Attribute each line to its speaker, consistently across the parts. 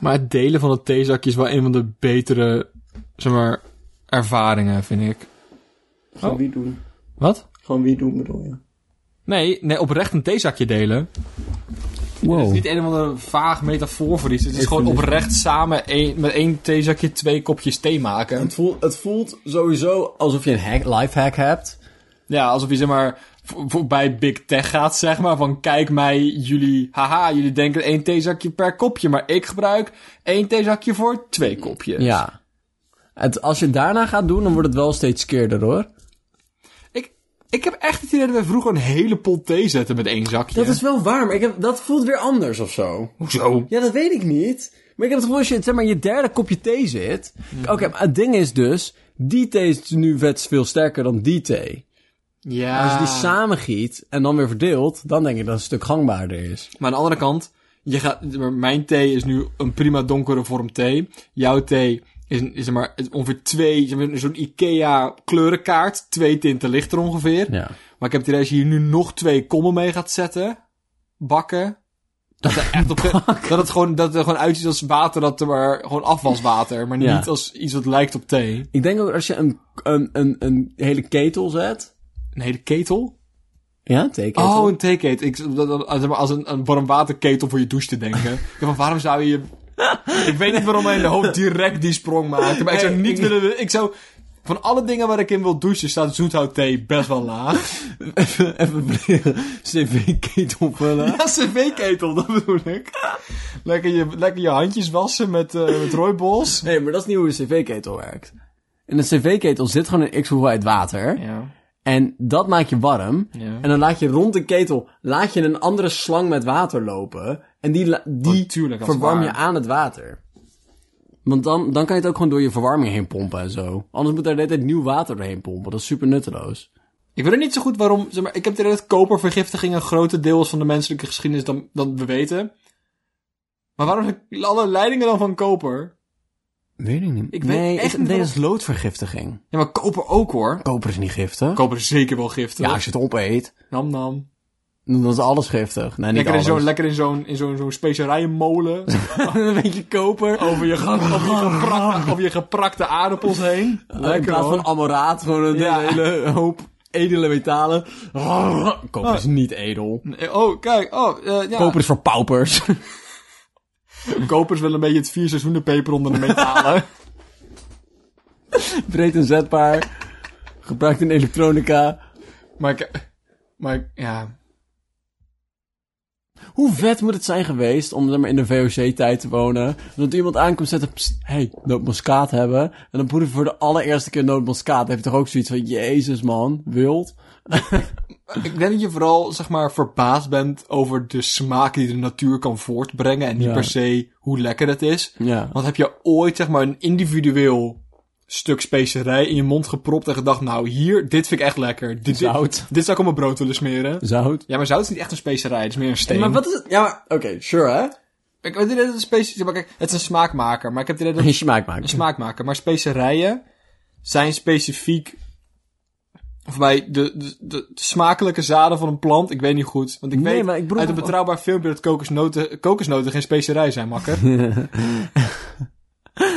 Speaker 1: Maar het delen van een theezakje is wel een van de betere, zeg maar, ervaringen, vind ik.
Speaker 2: Gewoon
Speaker 1: Oh.
Speaker 2: wie doen.
Speaker 1: Wat?
Speaker 2: Gewoon wie doen bedoel je.
Speaker 1: Nee, nee, oprecht een theezakje delen. Het is
Speaker 3: Wow.
Speaker 1: niet een of andere vaag metafoor voor iets. Het is
Speaker 3: Ik
Speaker 1: gewoon
Speaker 3: vind het-
Speaker 1: oprecht samen één- met één theezakje twee kopjes thee maken.
Speaker 3: Het voelt, het voelt sowieso alsof je een hack, lifehack hebt.
Speaker 1: Ja, alsof je zeg maar vo- voorbij Big Tech gaat, zeg maar. Van kijk mij, jullie, haha, jullie denken één theezakje per kopje. Maar ik gebruik één theezakje voor twee kopjes.
Speaker 3: Ja. Het, als je het daarna gaat doen, dan wordt het wel steeds keerder hoor.
Speaker 1: Ik, ik heb echt het idee dat wij vroeger een hele pot thee zetten met één zakje.
Speaker 3: Dat is wel waar, maar ik heb, dat voelt weer anders of zo.
Speaker 1: Hoezo?
Speaker 3: Ja, dat weet ik niet. Maar ik heb het gevoel als je, zeg maar, je derde kopje thee zit. Oké, maar het ding is dus, die thee is nu vet veel sterker dan die thee.
Speaker 1: Ja.
Speaker 3: Als je die samen giet en dan weer verdeelt, dan denk ik dat het een stuk gangbaarder is.
Speaker 1: Maar aan de andere kant, je gaat, maar mijn thee is nu een prima donkere vorm thee. Jouw thee is, een- is zeg maar ongeveer twee, zeg maar, zo'n Ikea kleurenkaart. Twee tinten lichter ongeveer.
Speaker 3: Ja.
Speaker 1: Maar ik heb het idee als je hier nu nog twee kommen mee gaat zetten, bakken. Dat, er echt op, dat het gewoon, dat het er gewoon uitziet als water, dat er maar gewoon afwaswater. Maar
Speaker 3: Ja.
Speaker 1: niet als iets wat lijkt op thee.
Speaker 3: Ik denk ook als je een, een, een, een hele ketel zet.
Speaker 1: Een hele ketel?
Speaker 3: Ja, theeketel.
Speaker 1: Oh, een theeketel. Ik, dat- dat- als- als een, een warm waterketel voor je douche te denken. Ik dacht van, waarom zou je... Ik weet niet waarom mijn hoofd direct die sprong maakte. Maar ik zou
Speaker 3: Nee,
Speaker 1: niet
Speaker 3: ik-
Speaker 1: willen... Ik zou... Van alle dingen waar ik in wil douchen staat zoethout thee best wel laag.
Speaker 3: even, even cv-ketel vullen.
Speaker 1: Ja, cv-ketel, dat bedoel ik. Lekker je, lekker je handjes wassen met, eh met rooibos.
Speaker 3: Nee, maar dat is niet hoe een cv-ketel werkt. In een cv-ketel zit gewoon een x-hoeveelheid water.
Speaker 1: Ja.
Speaker 3: En dat maakt je warm.
Speaker 1: Ja.
Speaker 3: En dan laat je rond de ketel laat je een andere slang met water lopen. En die, la- die
Speaker 1: Oh, tuurlijk, dat is
Speaker 3: verwarm je
Speaker 1: waar.
Speaker 3: aan het water. Want dan, dan kan je het ook gewoon door je verwarming heen pompen en zo. Anders moet daar de hele tijd nieuw water doorheen pompen. Dat is super nutteloos.
Speaker 1: Ik weet ook niet zo goed waarom... Zeg maar, ik heb het idee dat kopervergiftiging een groter deel is van de menselijke geschiedenis dan, dan we weten. Maar waarom zijn alle leidingen dan van koper?
Speaker 3: Weet ik niet.
Speaker 1: Ik weet
Speaker 3: nee,
Speaker 1: echt
Speaker 3: is,
Speaker 1: niet
Speaker 3: nee, dat
Speaker 1: waarom-
Speaker 3: is loodvergiftiging.
Speaker 1: Ja, maar koper ook hoor.
Speaker 3: Koper is niet giftig.
Speaker 1: Koper is zeker wel giftig.
Speaker 3: ja, als je het opeet,
Speaker 1: Nam nam.
Speaker 3: dan is alles giftig. Nee, niet
Speaker 1: Lekker in
Speaker 3: alles.
Speaker 1: zo'n lekker in zo'n in zo'n zo'n specerijenmolen.
Speaker 3: een beetje koper.
Speaker 1: over je, ge- over, je geprakte, over je geprakte aardappels heen.
Speaker 3: In
Speaker 1: Lekker
Speaker 3: plaats
Speaker 1: hoor.
Speaker 3: van amoraat, gewoon een
Speaker 1: Ja.
Speaker 3: hele hoop edele metalen. Koper is niet edel.
Speaker 1: Nee, Oh, kijk. Oh, eh, ja.
Speaker 3: Koper is voor paupers.
Speaker 1: Kopers willen een beetje het vier seizoenen peper onder de metalen.
Speaker 3: Breed en zetbaar. Gebruikt in elektronica.
Speaker 1: maar ik... Maar ik- ja...
Speaker 3: Hoe vet moet het zijn geweest om zeg maar, in de VOC-tijd te wonen? Dat iemand aankomt zetten, psst, hey, nootmuskaat hebben. En dan proef je voor de allereerste keer nootmuskaat. Dan heb je toch ook zoiets van, jezus man, wild.
Speaker 1: Ik denk dat je vooral, zeg maar, verbaasd bent over de smaak die de natuur kan voortbrengen. En niet
Speaker 3: Ja.
Speaker 1: per se hoe lekker het is.
Speaker 3: Ja.
Speaker 1: Want heb je ooit, zeg maar, een individueel stuk specerij in je mond gepropt en gedacht, nou hier, dit vind ik echt lekker. Dit,
Speaker 3: Zout.
Speaker 1: Dit, dit zou ik op mijn brood willen smeren.
Speaker 3: Zout.
Speaker 1: Ja, maar zout is niet echt een specerij, het is meer een steen.
Speaker 3: Maar wat is het? Ja, maar, oké, sure hè?
Speaker 1: Ik weet niet dat het een specerij maar kijk, het is een smaakmaker, maar ik heb het idee dat
Speaker 3: Een
Speaker 1: het
Speaker 3: smaak
Speaker 1: een
Speaker 3: maken.
Speaker 1: smaakmaker. Maar specerijen zijn specifiek, voor mij, de, de, de, de smakelijke zaden van een plant. Ik weet niet goed, want ik
Speaker 3: Nee,
Speaker 1: weet
Speaker 3: maar ik bedoel-
Speaker 1: uit een betrouwbaar filmpje dat kokosnoten, kokosnoten geen specerij zijn, makker.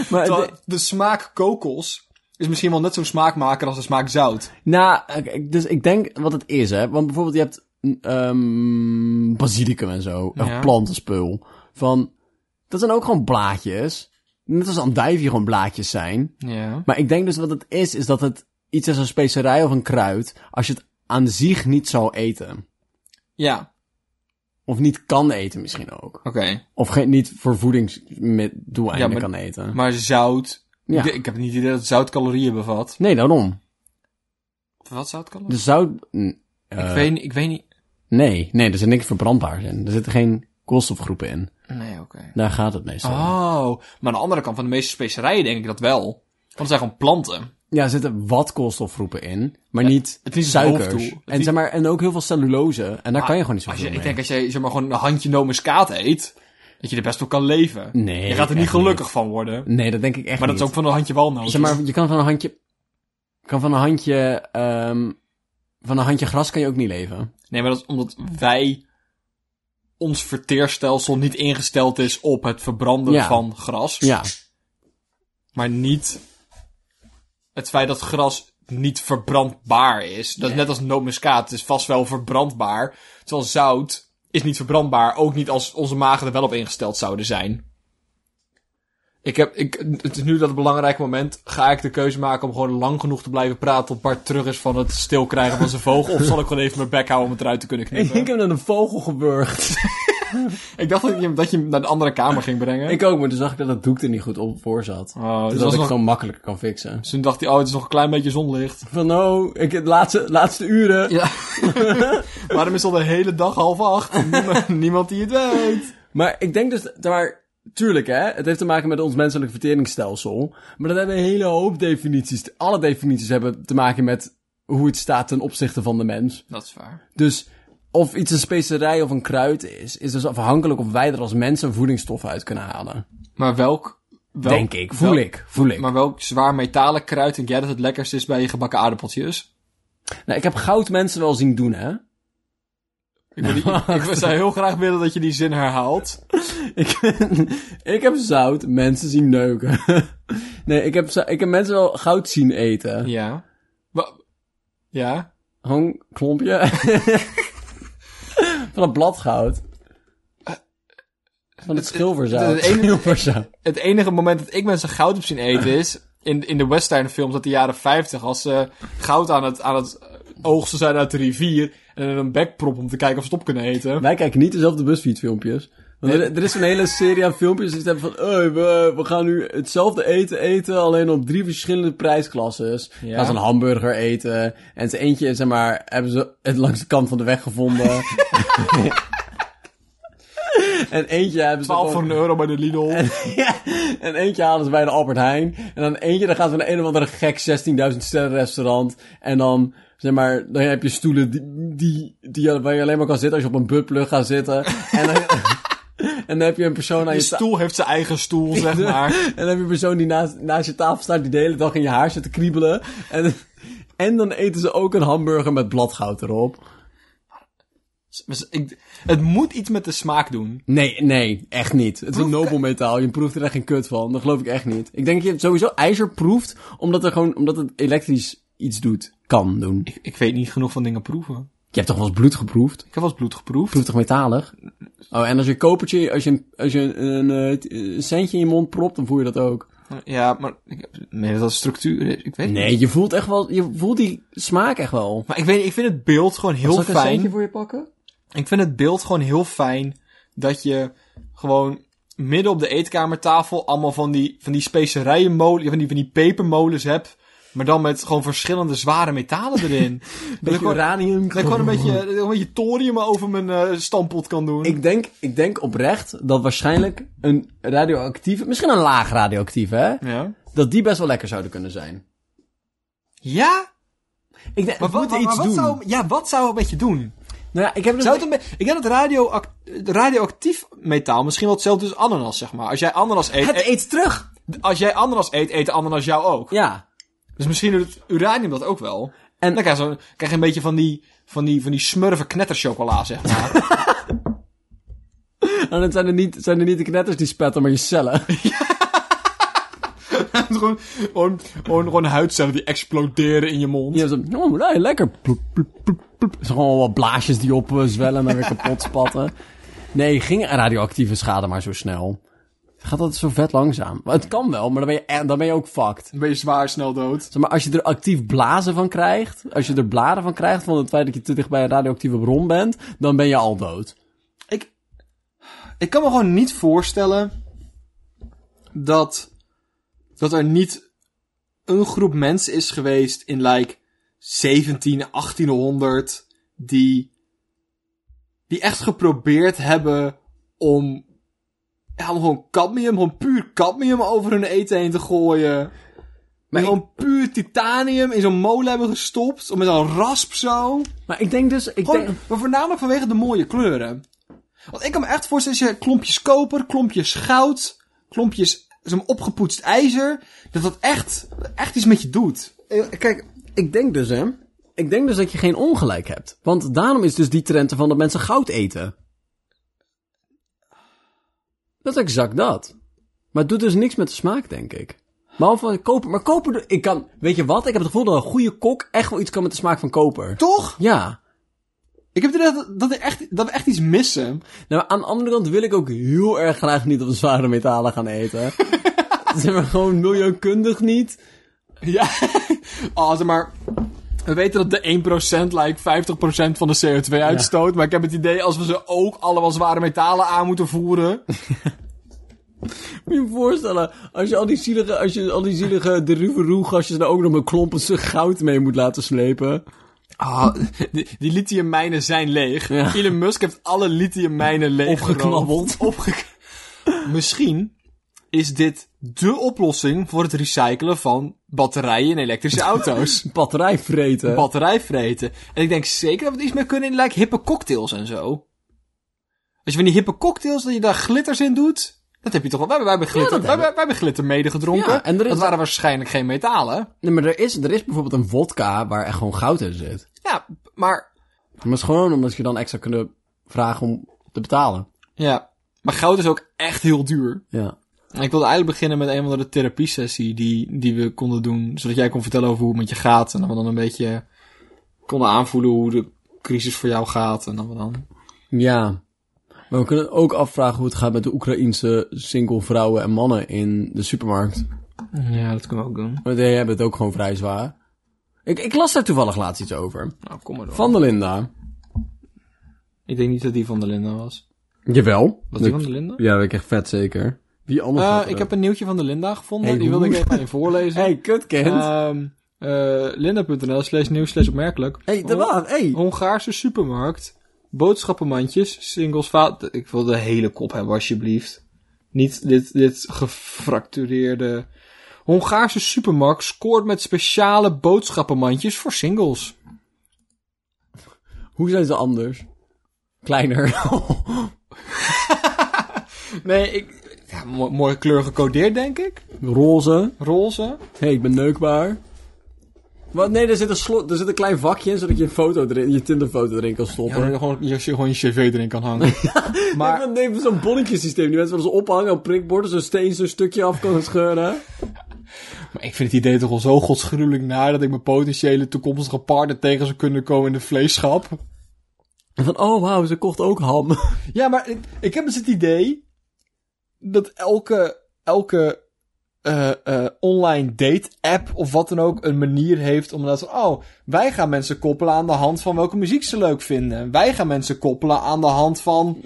Speaker 3: Maar
Speaker 1: Terwijl
Speaker 3: de-
Speaker 1: de, smaak kokos is misschien wel net zo'n smaakmaker als de smaak zout.
Speaker 3: Nou, oké, ik- dus ik denk wat het is, hè. Want bijvoorbeeld je hebt mm, ehm basilicum en zo. echt
Speaker 1: Ja.
Speaker 3: plantenspul. Van, dat zijn ook gewoon blaadjes. Net als andijvie gewoon blaadjes zijn.
Speaker 1: Ja.
Speaker 3: Maar ik denk dus wat het is, is dat het iets is als een specerij of een kruid. Als je het aan zich niet zou eten.
Speaker 1: Ja,
Speaker 3: Of niet kan eten misschien ook.
Speaker 1: oké.
Speaker 3: Of geen, niet voor voedingsdoeleinden
Speaker 1: Ja, maar-
Speaker 3: kan eten.
Speaker 1: Maar zout...
Speaker 3: Ja.
Speaker 1: Ik, ik heb niet het idee dat zout calorieën bevat.
Speaker 3: Nee, daarom.
Speaker 1: Wat zout calorieën?
Speaker 3: Dus zou... n-
Speaker 1: Dus ik,
Speaker 3: eh,
Speaker 1: weet, niet- ik weet niet...
Speaker 3: Nee, nee, er zit niks verbrandbaars in. Er zitten geen koolstofgroepen in.
Speaker 1: Nee, oké.
Speaker 3: Daar gaat het meestal. om.
Speaker 1: Oh, maar aan de andere kant van de meeste specerijen denk ik dat wel. Want het zijn gewoon planten.
Speaker 3: Ja, er zitten wat koolstofgroepen in, maar niet
Speaker 1: het is het
Speaker 3: suikers.
Speaker 1: hoofddoel. Het
Speaker 3: en,
Speaker 1: is- Ah,
Speaker 3: zeg maar, en ook heel veel cellulose. En daar kan je gewoon niet zo
Speaker 1: Als
Speaker 3: veel
Speaker 1: je,
Speaker 3: mee.
Speaker 1: ik denk als je zeg maar, gewoon een handje nomenskaat eet, dat je er best op kan leven.
Speaker 3: Nee,
Speaker 1: Je gaat er niet
Speaker 3: echt
Speaker 1: gelukkig van worden.
Speaker 3: Nee, dat denk ik echt
Speaker 1: Maar dat
Speaker 3: niet.
Speaker 1: is ook van een handje walnoten.
Speaker 3: Zeg maar, je kan van een handje... Kan van een handje... ehm, van een handje gras kan je ook niet leven.
Speaker 1: Nee, maar dat is omdat wij ons verteerstelsel niet ingesteld is op het verbranden
Speaker 3: Ja.
Speaker 1: van gras.
Speaker 3: Ja.
Speaker 1: Maar niet het feit dat gras niet verbrandbaar is. Dat is net als nootmuskaat, het is vast wel verbrandbaar. Terwijl zout is niet verbrandbaar, ook niet als onze magen er wel op ingesteld zouden zijn. Ik heb, ik, het is nu dat belangrijke moment. Ga ik de keuze maken om gewoon lang genoeg te blijven praten tot Bart terug is van het stilkrijgen van zijn vogel? Of zal ik gewoon even mijn bek houden om het eruit te kunnen knippen?
Speaker 3: Ik heb net een vogel geburgd.
Speaker 1: ik dacht dat je, hem- dat je hem naar de andere kamer ging brengen.
Speaker 3: Ik ook, maar toen zag ik dat dat doek er niet goed op voor zat.
Speaker 1: Oh, dus
Speaker 3: dus dat ik
Speaker 1: was
Speaker 3: het
Speaker 1: nog,
Speaker 3: gewoon makkelijker kan fixen.
Speaker 1: toen dacht hij, oh, het is nog een klein beetje zonlicht.
Speaker 3: Van, oh, ik, de laatste, laatste uren.
Speaker 1: Ja. Waarom is al de hele dag half acht? Niemand, niemand die het weet.
Speaker 3: Maar ik denk dus, daar, tuurlijk hè, het heeft te maken met ons menselijk verteringsstelsel. Maar dat hebben een hele hoop definities. Alle definities hebben te maken met hoe het staat ten opzichte van de mens.
Speaker 1: Dat is waar.
Speaker 3: Dus of iets een specerij of een kruid is, is dus afhankelijk of wij er als mensen voedingsstof uit kunnen halen.
Speaker 1: Maar welk... welk
Speaker 3: denk ik, voel
Speaker 1: wel-
Speaker 3: ik, voel ik.
Speaker 1: Maar welk zwaar metalen kruid denk jij dat het lekkerst is bij je gebakken aardappeltjes?
Speaker 3: Nou, ik heb goud mensen wel zien doen hè.
Speaker 1: Ik, wil die- ik zou heel graag willen dat je die zin herhaalt.
Speaker 3: Ik, ik heb zout mensen zien neuken. nee, ik heb, zo- ik heb mensen wel goud zien eten.
Speaker 1: Ja. Wa- ja?
Speaker 3: Hang, klompje. van het bladgoud. Van het schilverzout.
Speaker 1: het ene-
Speaker 3: schilverzout.
Speaker 1: Het enige moment dat ik mensen goud heb zien eten is... In, in de westernfilms uit de jaren 50, als ze goud aan het, aan het oogsten zijn uit de rivier... en in een bek proppen om te kijken of ze het op kunnen eten.
Speaker 3: Wij kijken niet dezelfde busfietsfilmpjes. Want er, er is een hele serie aan filmpjes die hebben van... "Hey, we, we gaan nu hetzelfde eten eten, alleen op drie verschillende prijsklasses.
Speaker 1: Ja.
Speaker 3: Gaan ze een hamburger eten. En het eentje, zeg maar, hebben ze het langs de kant van de weg gevonden. en eentje hebben ze...
Speaker 1: 12 voor
Speaker 3: gewoon-
Speaker 1: een euro bij de Lidl.
Speaker 3: Ja, en eentje halen ze bij de Albert Heijn. En dan eentje, dan gaan ze naar een of andere gek 16.000 sterren restaurant. En dan, zeg maar, dan heb je stoelen die, die, die, waar je alleen maar kan zitten als je op een buttplug gaat zitten. En dan, en dan heb je een persoon aan
Speaker 1: Die
Speaker 3: je ta-
Speaker 1: stoel heeft zijn eigen stoel, zeg maar.
Speaker 3: En dan heb je een persoon die naast, naast je tafel staat, die de hele dag in je haar zit te kriebelen. En, en dan eten ze ook een hamburger met bladgoud erop.
Speaker 1: Dus ik- het moet iets met de smaak doen.
Speaker 3: Nee, nee, echt niet. Het is een nobelmetaal. Je proeft er echt geen kut van. Dat geloof ik echt niet. Ik denk dat je het sowieso ijzer proeft, omdat, er gewoon, omdat het elektrisch iets doet. Kan doen. Je
Speaker 1: Ik, ik weet niet genoeg van dingen proeven.
Speaker 3: hebt toch wel eens bloed geproefd?
Speaker 1: Ik heb wel eens bloed geproefd.
Speaker 3: Proeft toch metalig? Oh, en als je een kopertje, als je, een- als je een, een, eh, een centje in je mond propt, dan voel je dat ook.
Speaker 1: Ja, maar ik heb, nee, dat dat structuur is. Ik weet het niet.
Speaker 3: Nee, je voelt echt wel, je voelt die smaak echt wel.
Speaker 1: Maar ik, weet, niet, ik vind het beeld gewoon heel
Speaker 3: Zal ik een
Speaker 1: fijn.
Speaker 3: centje voor je pakken?
Speaker 1: Ik vind het beeld gewoon heel fijn dat je gewoon midden op de eetkamertafel allemaal van die, van die specerijenmolen, van die, van die pepermolens hebt. Maar dan met gewoon verschillende zware metalen erin. dat ik
Speaker 3: Beetje
Speaker 1: gewoon,
Speaker 3: uranium.
Speaker 1: dat ik gewoon een beetje, een beetje thorium over mijn eh, stampot kan doen.
Speaker 3: Ik denk, ik denk oprecht dat waarschijnlijk een radioactieve, misschien een laag radioactieve, hè?
Speaker 1: Ja?
Speaker 3: Dat die best wel lekker zouden kunnen zijn.
Speaker 1: Ja?
Speaker 3: Ik denk,
Speaker 1: Maar
Speaker 3: we
Speaker 1: wat,
Speaker 3: moeten
Speaker 1: maar- maar
Speaker 3: iets
Speaker 1: wat
Speaker 3: doen.
Speaker 1: Zou, ja, wat zou het met je doen?
Speaker 3: Nou ja, ik heb dus...
Speaker 1: Zou het een be- ik denk dat radioac- radioactief metaal misschien wel hetzelfde is als ananas, zeg maar. Als jij ananas eet,
Speaker 3: Het
Speaker 1: eh,
Speaker 3: eet terug!
Speaker 1: als jij ananas eet, eet de ananas jou ook.
Speaker 3: Ja.
Speaker 1: Dus misschien doet het uranium dat ook wel.
Speaker 3: En-
Speaker 1: En dan krijg je, zo'n- krijg je een beetje van die, van die, van die smurven knetterchocola, zeg maar.
Speaker 3: En het Nou, zijn er niet, zijn er niet de knetters die spetten, maar je cellen.
Speaker 1: gewoon, gewoon, gewoon, gewoon huidcellen die exploderen in je mond.
Speaker 3: Die hebben zo... Oh, nee, lekker. Ploep, ploep, ploep, ploep. Er zijn gewoon wat blaasjes die opzwellen en dan weer kapot spatten. Nee, ging radioactieve schade maar zo snel. Gaat dat zo vet langzaam? Maar het kan wel, maar dan ben je, e- dan ben je ook fucked.
Speaker 1: Dan ben je zwaar snel dood.
Speaker 3: Zeg maar, als je er actief blazen van krijgt, als je er blaren van krijgt van het feit dat je te dicht bij een radioactieve bron bent, dan ben je al dood.
Speaker 1: Ik, ik kan me gewoon niet voorstellen dat, dat er niet een groep mensen is geweest in like 17, 1800 die, die echt geprobeerd hebben om, ja, om gewoon cadmium, gewoon puur cadmium over hun eten heen te gooien. Maar
Speaker 3: Maar ik-
Speaker 1: gewoon puur titanium in zo'n molen hebben gestopt. Om met een rasp zo.
Speaker 3: Maar ik denk dus... Ik
Speaker 1: Gewoon,
Speaker 3: denk...
Speaker 1: maar voornamelijk vanwege de mooie kleuren. Want ik kan me echt voorstellen, als je klompjes koper, klompjes goud, klompjes zo'n opgepoetst ijzer, dat dat echt, echt iets met je doet.
Speaker 3: Eh, Kijk, ik denk dus, hè. Ik denk dus dat je geen ongelijk hebt. Want daarom is dus die trend van dat mensen goud eten. Dat is exact dat. Maar het doet dus niks met de smaak, denk ik. Behalve van koper. Maar koper, doe- ik kan, weet je wat? Ik heb het gevoel dat een goede kok echt wel iets kan met de smaak van koper.
Speaker 1: Toch?
Speaker 3: Ja.
Speaker 1: Ik heb het idee dat, dat, er echt, dat we echt iets missen.
Speaker 3: Nou, maar aan de andere kant wil ik ook heel erg graag niet op de zware metalen gaan eten. zeg maar gewoon milieukundig niet.
Speaker 1: Ja. Oh, zeg maar. We weten dat de 1% lijkt 50% van de CO2-uitstoot. Maar ik heb het idee als we ze ook allemaal zware metalen aan moeten voeren.
Speaker 3: Moet je je voorstellen, als je al die zielige, als je al die zielige deruveroe-gastjes daar ook nog met klompen goud mee moet laten slepen.
Speaker 1: Ah, die, die lithiummijnen zijn leeg.
Speaker 3: Ja.
Speaker 1: Elon Musk heeft alle lithiummijnen leeg.
Speaker 3: Opgeknabbeld.
Speaker 1: Opgek Misschien is dit de oplossing voor het recyclen van batterijen in elektrische auto's.
Speaker 3: Batterij vreten.
Speaker 1: Batterij vreten. En ik denk zeker dat we er iets mee kunnen in like, hippe cocktails en zo. Als je van die hippe cocktails, dat je daar glitters in doet. Dat heb je toch wel. Wij, hebben- wij, hebben, glitter,
Speaker 3: dat
Speaker 1: wij, hebben- wij hebben glitter mede gedronken.
Speaker 3: Ja, en er is-
Speaker 1: Dat waren waarschijnlijk geen metalen.
Speaker 3: nee, maar er is, er is bijvoorbeeld een vodka waar echt gewoon goud in zit.
Speaker 1: Ja, maar
Speaker 3: Maar het is gewoon omdat je dan extra kunnen vragen om te betalen.
Speaker 1: Ja, maar goud is ook echt heel duur.
Speaker 3: Ja.
Speaker 1: En Ik wilde eigenlijk beginnen met een of andere therapie-sessie die, die we konden doen. Zodat jij kon vertellen over hoe het met je gaat. En dat we dan een beetje konden aanvoelen hoe de crisis voor jou gaat. En dan we dan...
Speaker 3: Ja. Maar we kunnen ook afvragen hoe het gaat met de Oekraïense single vrouwen en mannen in de supermarkt.
Speaker 1: Ja, dat kunnen we ook doen.
Speaker 3: Want die hebben het ook gewoon vrij zwaar. Ik, ik las daar toevallig laatst iets over.
Speaker 1: Nou, kom maar door.
Speaker 3: Van de Linda.
Speaker 1: Ik denk niet dat die van de Linda was.
Speaker 3: Jawel.
Speaker 1: Was die van de Linda?
Speaker 3: Ja, dat ik echt vet zeker. Wie anders? had er
Speaker 1: Eh, ik
Speaker 3: ook?
Speaker 1: heb een nieuwtje van de Linda gevonden.
Speaker 3: Hey,
Speaker 1: die wilde ik
Speaker 3: hoe?
Speaker 1: even aan je voorlezen.
Speaker 3: Hey, kutkent.
Speaker 1: Ehm, eh, Linda.nl slash nieuws slash opmerkelijk.
Speaker 3: hey, dat was. Hey.
Speaker 1: Hongaarse supermarkt. Boodschappenmandjes. Singles vaat. Ik wil de hele kop hebben, alsjeblieft. Niet dit, dit gefractureerde. Hongaarse supermarkt scoort met speciale boodschappenmandjes voor singles.
Speaker 3: Hoe zijn ze anders? Kleiner.
Speaker 1: Nee, ik. Ja, mo- mooie kleur gecodeerd, denk ik.
Speaker 3: Roze.
Speaker 1: Roze.
Speaker 3: hey, ik ben neukbaar. Wat? Nee, er zit, een slot, er zit een klein vakje in, zodat je een foto erin, je Tinder-foto erin kan
Speaker 1: Ja,
Speaker 3: stoppen.
Speaker 1: maar gewoon, als je gewoon je cv erin kan hangen.
Speaker 3: Maar...
Speaker 1: maar
Speaker 3: Nee, van zo'n bonnetjesysteem. Die mensen willen ze ophangen op prikborden, zo'n steen zo'n stukje af kunnen scheuren.
Speaker 1: Maar ik vind het idee toch al zo godsgruwelijk naar dat ik mijn potentiële toekomstige partner tegen zou kunnen komen in de vleesschap.
Speaker 3: En van, oh wauw, ze kocht ook ham.
Speaker 1: Ja, maar ik, ik heb dus het idee dat elke, elke eh, eh, online date-app of wat dan ook een manier heeft om dat van, oh, wij gaan mensen koppelen aan de hand van welke muziek ze leuk vinden. Wij gaan mensen koppelen aan de hand van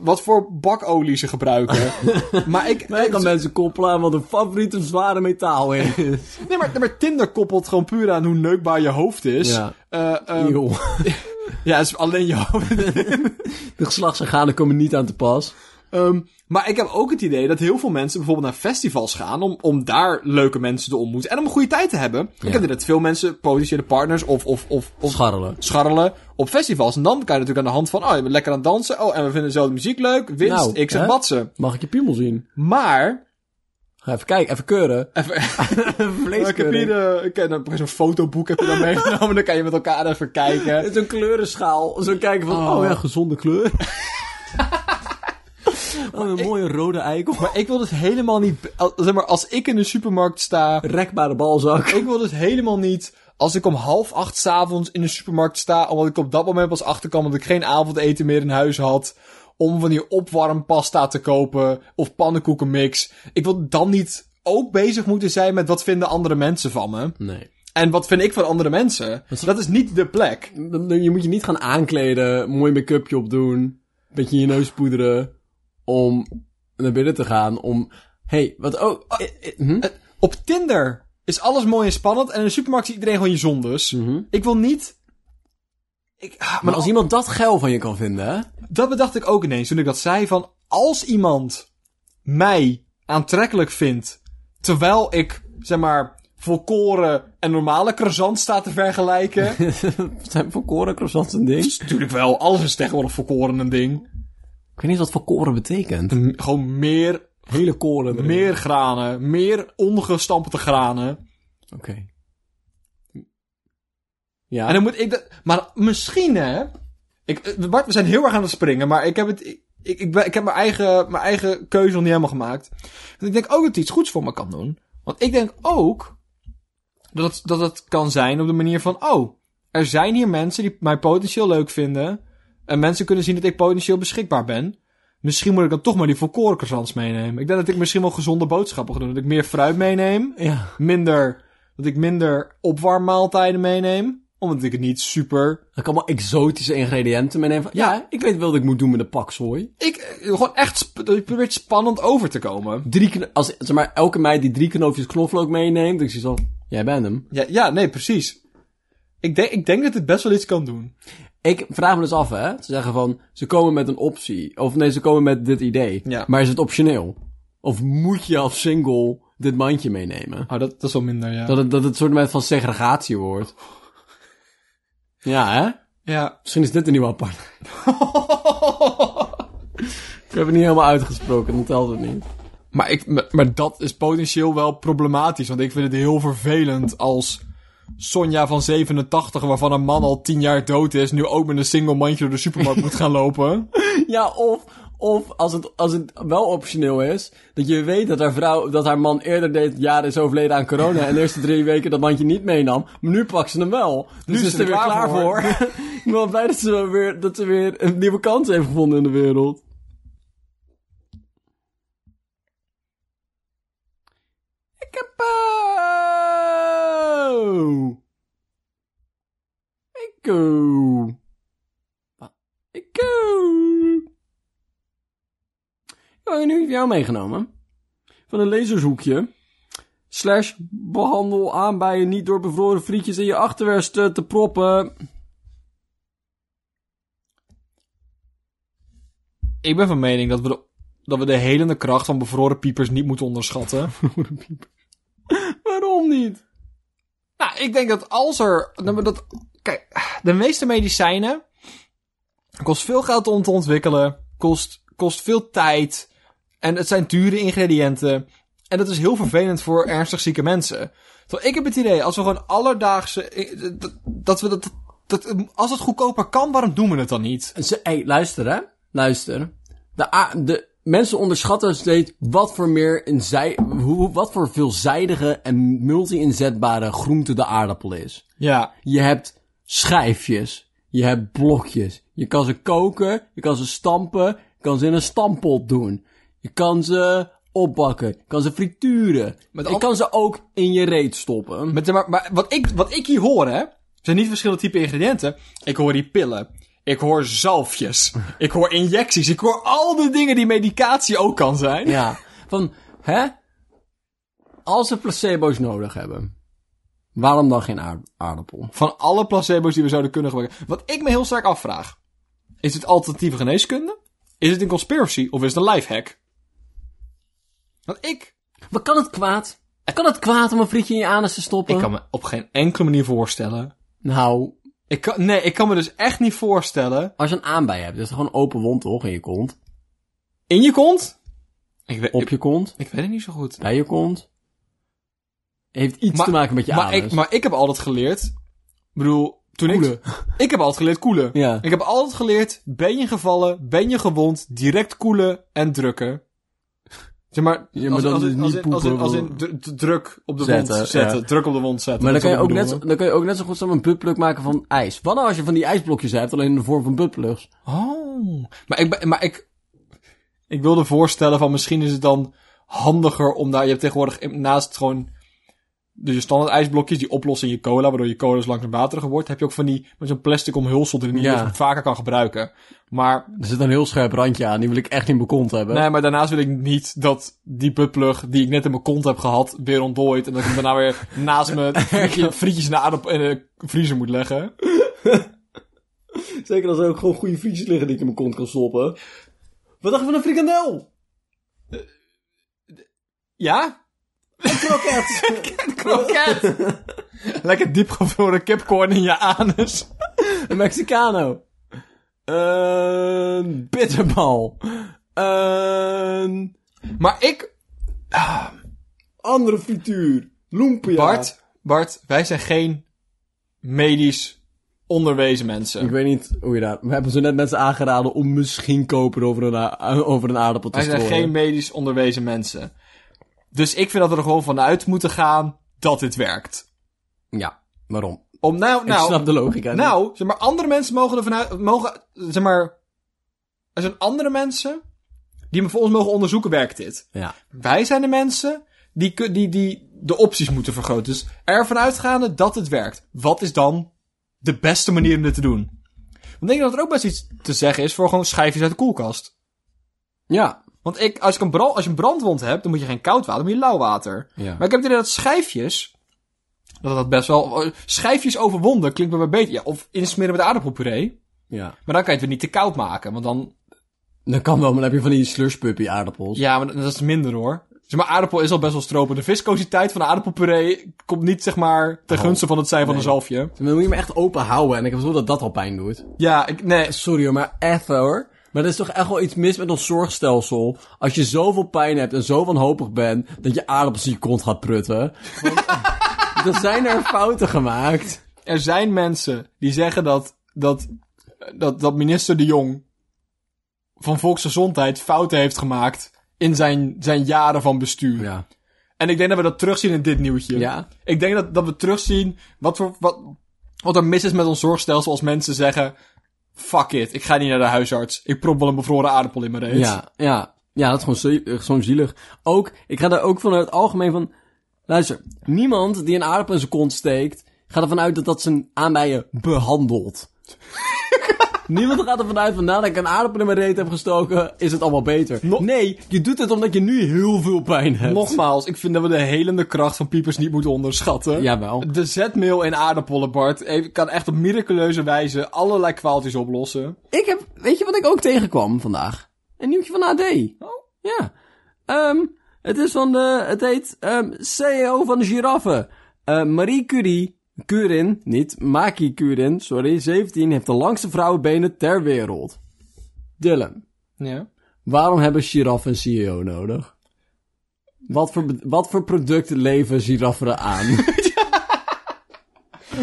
Speaker 1: wat voor bakolie ze gebruiken. maar ik,
Speaker 3: Wij gaan mensen koppelen aan wat hun favoriete zware metaal is.
Speaker 1: nee, maar, nee, maar Tinder koppelt gewoon puur aan hoe neukbaar je hoofd is.
Speaker 3: Ja.
Speaker 1: Eh, eh,
Speaker 3: Joh,
Speaker 1: ja, het is alleen je hoofd.
Speaker 3: de geslachtsorganen komen niet aan te pas.
Speaker 1: Ehm, maar ik heb ook het idee dat heel veel mensen bijvoorbeeld naar festivals gaan om, om daar leuke mensen te ontmoeten en om een goede tijd te hebben. Ik heb het idee dat veel mensen potentiële partners of, of, of, of
Speaker 3: Scharrelen.
Speaker 1: scharrelen op festivals. En dan kan je natuurlijk aan de hand van, oh, je bent lekker aan het dansen. Oh, en we vinden dezelfde muziek leuk. Winst,
Speaker 3: Nou,
Speaker 1: ik zeg
Speaker 3: hè?
Speaker 1: batsen.
Speaker 3: Mag ik je piemel zien?
Speaker 1: Maar...
Speaker 3: Ga even kijken, even keuren.
Speaker 1: Even, ik heb hier
Speaker 3: Vleeskeuren.
Speaker 1: eh, ik heb een- zo'n fotoboek heb je dan meegenomen. Dan kan je met elkaar even kijken.
Speaker 3: Zo'n kleurenschaal. Zo kijken van, oh,
Speaker 1: Oh.
Speaker 3: ja, gezonde kleur. oh, een mooie rode eikel.
Speaker 1: Maar ik wil dus helemaal niet... be- als- Zeg maar, als ik in de supermarkt sta...
Speaker 3: Rekbare balzak.
Speaker 1: Ik wil dus helemaal niet als ik om half acht s'avonds in de supermarkt sta, omdat ik op dat moment pas achterkwam dat ik geen avondeten meer in huis had, om van die opwarmpasta te kopen of pannenkoekenmix. Ik wil dan niet ook bezig moeten zijn met wat vinden andere mensen van me.
Speaker 3: Nee.
Speaker 1: En wat vind ik van andere mensen. Dat is niet de plek.
Speaker 3: Dan- dan- Je moet je niet gaan aankleden, mooi make-upje opdoen, beetje je neus poederen, om naar binnen te gaan, om... hey, wat ook... eh, eh, hm?
Speaker 1: Eh, Op Tinder is alles mooi en spannend en in de supermarkt ziet iedereen gewoon je zondes. Ik wil niet... Ik, ah, maar
Speaker 3: Mhm. Maar als iemand dat geil van je kan vinden, hè?
Speaker 1: Dat bedacht ik ook ineens toen ik dat zei van als iemand mij aantrekkelijk vindt terwijl ik zeg maar volkoren en normale croissant sta te vergelijken.
Speaker 3: Zijn volkoren croissants een ding?
Speaker 1: is natuurlijk wel, alles is tegenwoordig volkoren een ding.
Speaker 3: Ik weet niet wat volkoren betekent.
Speaker 1: M- gewoon meer,
Speaker 3: Hele koren erin.
Speaker 1: meer granen, meer ongestampte granen.
Speaker 3: Oké. Ja.
Speaker 1: En dan moet ik dat. Maar misschien hè. Ik, eh, Bart, we zijn heel erg aan het springen, maar ik heb het. Ik, ik, ik, ben, ik heb mijn eigen, mijn eigen keuze nog niet helemaal gemaakt. Want ik denk ook dat het iets goeds voor me kan doen. Want ik denk ook dat het, dat het kan zijn op de manier van... Oh, er zijn hier mensen die mij potentieel leuk vinden. En mensen kunnen zien dat ik potentieel beschikbaar ben. Misschien moet ik dan toch maar die volkoren croissants meenemen. Ik denk dat ik misschien wel gezonde boodschappen ga doen. Dat ik meer fruit meeneem.
Speaker 3: Ja.
Speaker 1: Minder, dat ik minder opwarmmaaltijden meeneem. Omdat ik het niet super...
Speaker 3: Dan kan allemaal exotische ingrediënten meenemen. Van, ja, ik weet wel wat ik moet doen met de pakzooi.
Speaker 1: Ik, eh, gewoon echt, sp- ik probeer het spannend over te komen.
Speaker 3: Drie kno- als, zeg maar, elke meid die drie knoopjes knoflook meeneemt, dan zie zo, jij bent hem.
Speaker 1: Ja, ja nee, precies. Ik denk, ik denk dat het best wel iets kan doen.
Speaker 3: Ik vraag me dus af, hè. Ze zeggen van, ze komen met een optie. Of nee, ze komen met dit idee.
Speaker 1: Ja.
Speaker 3: Maar is het optioneel? Of moet je als single dit mandje meenemen?
Speaker 1: Oh, dat, dat is wel minder, ja.
Speaker 3: Dat het, dat het soort met van segregatie wordt. Ja, hè?
Speaker 1: Ja.
Speaker 3: Misschien is dit een nieuwe apart. Ik heb het niet helemaal uitgesproken, dan telt het niet.
Speaker 1: Maar, ik, maar- maar dat is potentieel wel problematisch. Want ik vind het heel vervelend als Sonja van 87, waarvan een man al 10 jaar dood is, nu ook met een single mandje door de supermarkt moet gaan lopen.
Speaker 3: Ja, of, of als, het, als het wel optioneel is, dat je weet dat haar, vrouw, dat haar man eerder dit jaar is overleden aan corona en de eerste drie weken dat mandje niet meenam, maar nu pakt ze hem wel. Dus nu is ze er weer klaar voor. Ik ben wel blij dat ze, wel weer, dat ze weer een nieuwe kans heeft gevonden in de wereld. Ik heb... eh, Ik... eh, ik eh, Ik heb nu voor jou meegenomen. Van een lezershoekje. Slash behandel aanbijen niet door bevroren frietjes in je achterwerst eh, te proppen.
Speaker 1: Ik ben van mening dat we de, dat we de helende kracht van bevroren piepers niet moeten onderschatten.
Speaker 3: Waarom niet?
Speaker 1: Nou, ik denk dat als er. nou, maar Dat, kijk, de meeste medicijnen. kost veel geld om te ontwikkelen. Kost, kost veel tijd. En het zijn dure ingrediënten. En dat is heel vervelend voor ernstig zieke mensen. Terwijl ik heb het idee, als we gewoon alledaagse. eh, Dat, dat we dat, dat. Als het goedkoper kan, waarom doen we het dan niet?
Speaker 3: Ze, hey, luister hè. Luister. De, a- de mensen onderschatten dus steeds wat voor meer een zij, hoe, wat voor veelzijdige en multi-inzetbare groente de aardappel is.
Speaker 1: Ja.
Speaker 3: Je hebt schijfjes. Je hebt blokjes. Je kan ze koken. Je kan ze stampen. Je kan ze in een stamppot doen. Je kan ze opbakken. Je kan ze frituren.
Speaker 1: Met
Speaker 3: je
Speaker 1: al-
Speaker 3: kan ze ook in je reet stoppen.
Speaker 1: Met, maar maar wat, ik, wat ik hier hoor, hè, zijn niet verschillende type ingrediënten. Ik hoor die pillen. Ik hoor zalfjes. ik hoor injecties. Ik hoor al de dingen die medicatie ook kan zijn.
Speaker 3: Ja. Van, hè? Als ze placebo's nodig hebben, waarom dan geen aard- aardappel?
Speaker 1: Van alle placebo's die we zouden kunnen gebruiken. Wat ik me heel sterk afvraag. Is het alternatieve geneeskunde? Is het een conspiracy? Of is het een lifehack? Want ik...
Speaker 3: Maar kan het kwaad? Kan het kwaad om een frietje in je anus te stoppen?
Speaker 1: Ik kan me op geen enkele manier voorstellen.
Speaker 3: Nou,
Speaker 1: Ik kan, nee, ik kan me dus echt niet voorstellen.
Speaker 3: als je een aanbij hebt, is het gewoon een open wond toch in je kont?
Speaker 1: In je kont? Ik, weet-
Speaker 3: Op
Speaker 1: ik,
Speaker 3: je kont?
Speaker 1: ik weet het niet zo goed.
Speaker 3: bij je kont. Heeft iets te maken met je
Speaker 1: maar
Speaker 3: anus.
Speaker 1: Ik, maar ik heb altijd geleerd... Ik bedoel, toen ik... Ik heb altijd geleerd koelen.
Speaker 3: Ja.
Speaker 1: Ik heb altijd geleerd, ben je gevallen, ben je gewond, direct koelen en drukken. Zeg maar,
Speaker 3: Ja, maar
Speaker 1: als,
Speaker 3: dan
Speaker 1: als,
Speaker 3: dus
Speaker 1: in-
Speaker 3: niet
Speaker 1: als in, als in,
Speaker 3: poepen,
Speaker 1: als in dru- dru- druk op de
Speaker 3: Zetten,
Speaker 1: wond zetten.
Speaker 3: ja.
Speaker 1: Druk op de wond zetten.
Speaker 3: Maar dan
Speaker 1: dat is
Speaker 3: kan, je
Speaker 1: wat
Speaker 3: ook
Speaker 1: ik
Speaker 3: net zo,
Speaker 1: bedoel,
Speaker 3: dan kan je ook net zo goed zo'n een buttplug maken van ijs. Wat nou als je van die ijsblokjes hebt, alleen in de vorm van buttplugs?
Speaker 1: hè. Oh. Maar ik, ben- maar ik, ik wilde voorstellen van misschien is het dan handiger om daar, je hebt tegenwoordig in- naast gewoon dus je standaard ijsblokjes die oplossen in je cola, waardoor je cola dus langzaam wateriger wordt, heb je ook van die, met zo'n plastic omhulsel erin die
Speaker 3: Ja.
Speaker 1: je dus vaker kan gebruiken. Maar
Speaker 3: Er zit een heel scherp randje aan, die wil ik echt in mijn kont hebben.
Speaker 1: Nee, maar daarnaast wil ik niet dat die buttplug die ik net in mijn kont heb gehad, weer ontdooit. En dat ik hem daarna weer naast me frietje- frietjes in de aardappel in de vriezer moet leggen.
Speaker 3: Zeker als er ook gewoon goede frietjes liggen die ik in mijn kont kan stoppen. Wat dacht je van een frikandel?
Speaker 1: Ja?
Speaker 3: Kroket!
Speaker 1: Kroket! Lekker diepgevroren kipcorn in je anus.
Speaker 3: een Mexicano. Een bitterbal. Een
Speaker 1: Maar ik,
Speaker 3: andere frituur. Lumpia.
Speaker 1: Bart, Bart, wij zijn geen medisch onderwezen mensen.
Speaker 3: Ik weet niet hoe je dat... We hebben zo net mensen aangeraden om misschien koper over een, a- over een aardappel te
Speaker 1: Wij zijn
Speaker 3: strooien.
Speaker 1: geen medisch onderwezen mensen. Dus ik vind dat we er gewoon vanuit moeten gaan dat dit werkt.
Speaker 3: Ja, waarom?
Speaker 1: Om nou,
Speaker 3: Ik
Speaker 1: nou,
Speaker 3: snap de logica niet.
Speaker 1: nou, zeg maar, andere mensen mogen er vanuit, mogen, zeg maar, er zijn andere mensen die me voor ons mogen onderzoeken, werkt dit?
Speaker 3: Ja.
Speaker 1: Wij zijn de mensen die, kun- die, die de opties moeten vergroten. Dus ervan uitgaande dat het werkt. Wat is dan de beste manier om dit te doen? Ik denk dat er ook best iets te zeggen is voor gewoon schijfjes uit de koelkast.
Speaker 3: Ja.
Speaker 1: Want ik, als, ik een brand, als je een brandwond hebt, dan moet je geen koud water, maar je lauw water.
Speaker 3: Ja.
Speaker 1: Maar ik heb het idee dat schijfjes, dat dat best wel... Schijfjes over wonden klinkt wel wat beter. Ja, of insmeren met aardappelpuree.
Speaker 3: ja.
Speaker 1: Maar dan kan je het weer niet te koud maken, want dan...
Speaker 3: Dat kan wel, maar dan heb je van die slushpuppy aardappels.
Speaker 1: Ja, maar dat dat is minder hoor. Zeg maar, aardappel is al best wel stropen. De viscositeit van de aardappelpuree komt niet, zeg maar,
Speaker 3: Oh,
Speaker 1: ten gunste van het zijn van een zalfje.
Speaker 3: Dan moet je me echt open houden en ik heb het gevoel dat dat al pijn doet.
Speaker 1: Ja, ik, nee.
Speaker 3: Sorry hoor, maar even hoor. Maar er is toch echt wel iets mis met ons zorgstelsel. Als je zoveel pijn hebt en zo wanhopig bent, dat je aardappels in je kont gaat prutten. Want, dan zijn er fouten gemaakt.
Speaker 1: Er zijn mensen die zeggen dat, dat, dat, dat minister De Jong van Volksgezondheid fouten heeft gemaakt in zijn, zijn jaren van bestuur.
Speaker 3: Ja.
Speaker 1: En ik denk dat we dat terugzien in dit nieuwtje.
Speaker 3: Ja.
Speaker 1: Ik denk dat, dat we terugzien wat, voor, wat, wat er mis is met ons zorgstelsel als mensen zeggen... Fuck it, ik ga niet naar de huisarts. Ik prop wel een bevroren aardappel in mijn reet.
Speaker 3: Ja, ja. Ja, dat is gewoon zie- eh, gewoon zielig. Ook, ik ga daar ook vanuit het algemeen van... Luister, niemand die een aardappel in zijn kont steekt... gaat ervan uit dat dat zijn aanbijen behandelt. niemand gaat ervan uit van... nadat ik een aardappel in mijn reet heb gestoken... is het allemaal beter. nee, je doet het omdat je nu heel veel pijn hebt.
Speaker 1: Nogmaals, ik vind dat we de helende kracht van piepers niet moeten onderschatten.
Speaker 3: Jawel.
Speaker 1: De zetmeel en aardappelen, Bart, heeft- kan echt op miraculeuze wijze allerlei kwaaltjes oplossen.
Speaker 3: Ik heb, weet je wat ik ook tegenkwam vandaag? Een nieuwtje van AD.
Speaker 1: Oh.
Speaker 3: Ja. Ehm, het is van de, het heet ehm, CEO van de giraffen. Eh, Marie Curie, Curin, niet Maki Curin, sorry, 17, heeft de langste vrouwenbenen ter wereld. Dylan,
Speaker 1: Ja.
Speaker 3: waarom hebben giraffen een CEO nodig? Wat voor, be- wat voor producten leven giraffen aan?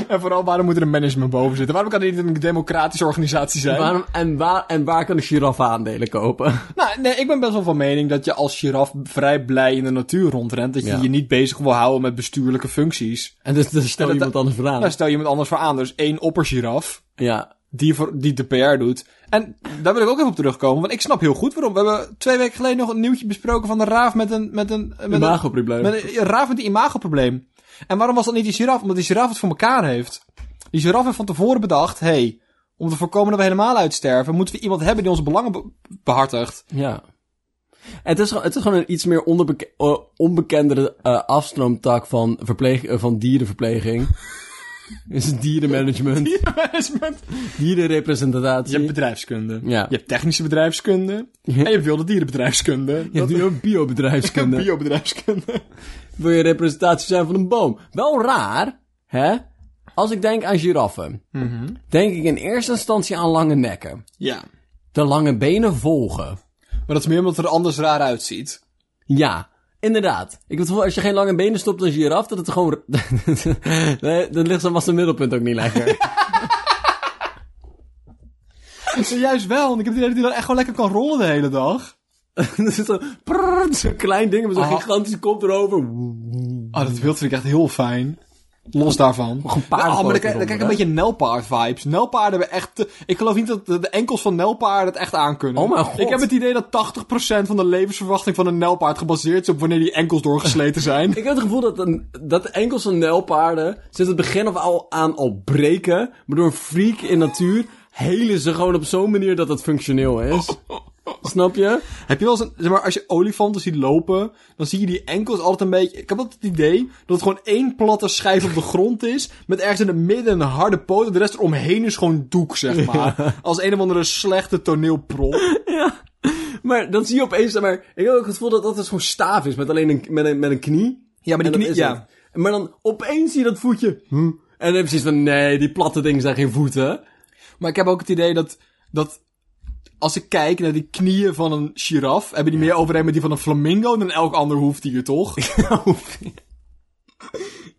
Speaker 1: En vooral, waarom moet er een management boven zitten? Waarom kan dit niet een democratische organisatie zijn?
Speaker 3: waarom, en, waar, en waar kan de giraffe aandelen kopen?
Speaker 1: Nou, nee, ik ben best wel van mening dat je als giraf vrij blij in de natuur rondrent. Dat je
Speaker 3: Ja.
Speaker 1: je niet bezig wil houden met bestuurlijke functies.
Speaker 3: En dus, dus stel
Speaker 1: dat-
Speaker 3: iemand anders voor
Speaker 1: Daar
Speaker 3: aan.
Speaker 1: stel je iemand anders voor aan. Er is één oppergiraf
Speaker 3: Ja,
Speaker 1: die, voor, die de PR doet. En daar wil ik ook even op terugkomen, want ik snap heel goed waarom. We hebben twee weken geleden nog een nieuwtje besproken van de raaf met een... Met een met een-
Speaker 3: Imagoprobleem.
Speaker 1: Met een, een raaf met een imagoprobleem. En waarom was dat niet die giraf? Omdat die giraf het voor elkaar heeft. Die giraf heeft van tevoren bedacht, hé, hey, om te voorkomen dat we helemaal uitsterven, moeten we iemand hebben die onze belangen be- behartigt.
Speaker 3: Ja. Het is, gewoon- het is gewoon een iets meer onderbeke- eh, onbekendere eh, afstroomtak van, verpleeg, eh, van dierenverpleging. is het dierenmanagement,
Speaker 1: Dierenmanagement. Je
Speaker 3: dierenrepresentatie.
Speaker 1: hebt bedrijfskunde.
Speaker 3: Ja.
Speaker 1: Je hebt technische bedrijfskunde. En je hebt wilde dierenbedrijfskunde.
Speaker 3: je hebt nu ook biobedrijfskunde.
Speaker 1: biobedrijfskunde.
Speaker 3: Wil je representatie zijn van een boom? Wel raar, hè? Als ik denk aan giraffen, denk ik in eerste instantie aan lange nekken.
Speaker 1: Ja.
Speaker 3: De lange benen volgen.
Speaker 1: Maar dat is meer omdat het er anders raar uitziet.
Speaker 3: Ja, inderdaad. Ik heb het gevoel, als je geen lange benen stopt als giraf, dat het gewoon... nee, dan ligt zo'n was zijn middelpunt ook niet lekker.
Speaker 1: Ja, juist wel, want ik heb het idee dat hij dan echt gewoon lekker kan rollen de hele dag.
Speaker 3: Er zit zo'n prrrr, zo'n klein ding met zo'n
Speaker 1: Ah.
Speaker 3: gigantische kop erover.
Speaker 1: Ah, dat beeld vind ik echt heel fijn. Los daarvan.
Speaker 3: Gewoon paarden
Speaker 1: Ah, maar dan
Speaker 3: poten
Speaker 1: krijg dan
Speaker 3: eronder,
Speaker 1: krijg ik
Speaker 3: hè?
Speaker 1: een beetje Nelpaard-vibes. Nelpaarden hebben echt... te- Ik geloof niet dat de, de enkels van Nelpaarden het echt aankunnen.
Speaker 3: Oh mijn god.
Speaker 1: Ik heb het idee dat 80% van de levensverwachting van een Nelpaard gebaseerd is op wanneer die enkels doorgesleten zijn.
Speaker 3: Ik heb het gevoel dat, een, dat de enkels van nijlpaarden sinds het begin of al aan al breken. Maar door een freak in natuur helen ze gewoon op zo'n manier dat het functioneel is. Snap je?
Speaker 1: Heb je wel eens een, zeg maar, als je olifanten ziet lopen, dan zie je die enkels altijd een beetje. Ik heb altijd het idee dat het gewoon één platte schijf op de grond is. Met ergens in het midden een harde poot. En de rest eromheen is gewoon doek, zeg maar. Als een of andere slechte toneelprop.
Speaker 3: Maar dan zie je opeens, zeg maar, ik heb ook het gevoel dat dat dus gewoon staaf is met alleen een, met een, met een knie.
Speaker 1: Ja, maar die
Speaker 3: En dat
Speaker 1: knie-
Speaker 3: is
Speaker 1: ja.
Speaker 3: het. Maar dan opeens zie je dat voetje. Hm. En dan heb je precies van, nee, die platte dingen zijn geen voeten.
Speaker 1: Maar ik heb ook het idee dat. dat als ik kijk naar die knieën van een giraf, hebben die meer overeen met die van een flamingo dan elk ander hoefdier, toch?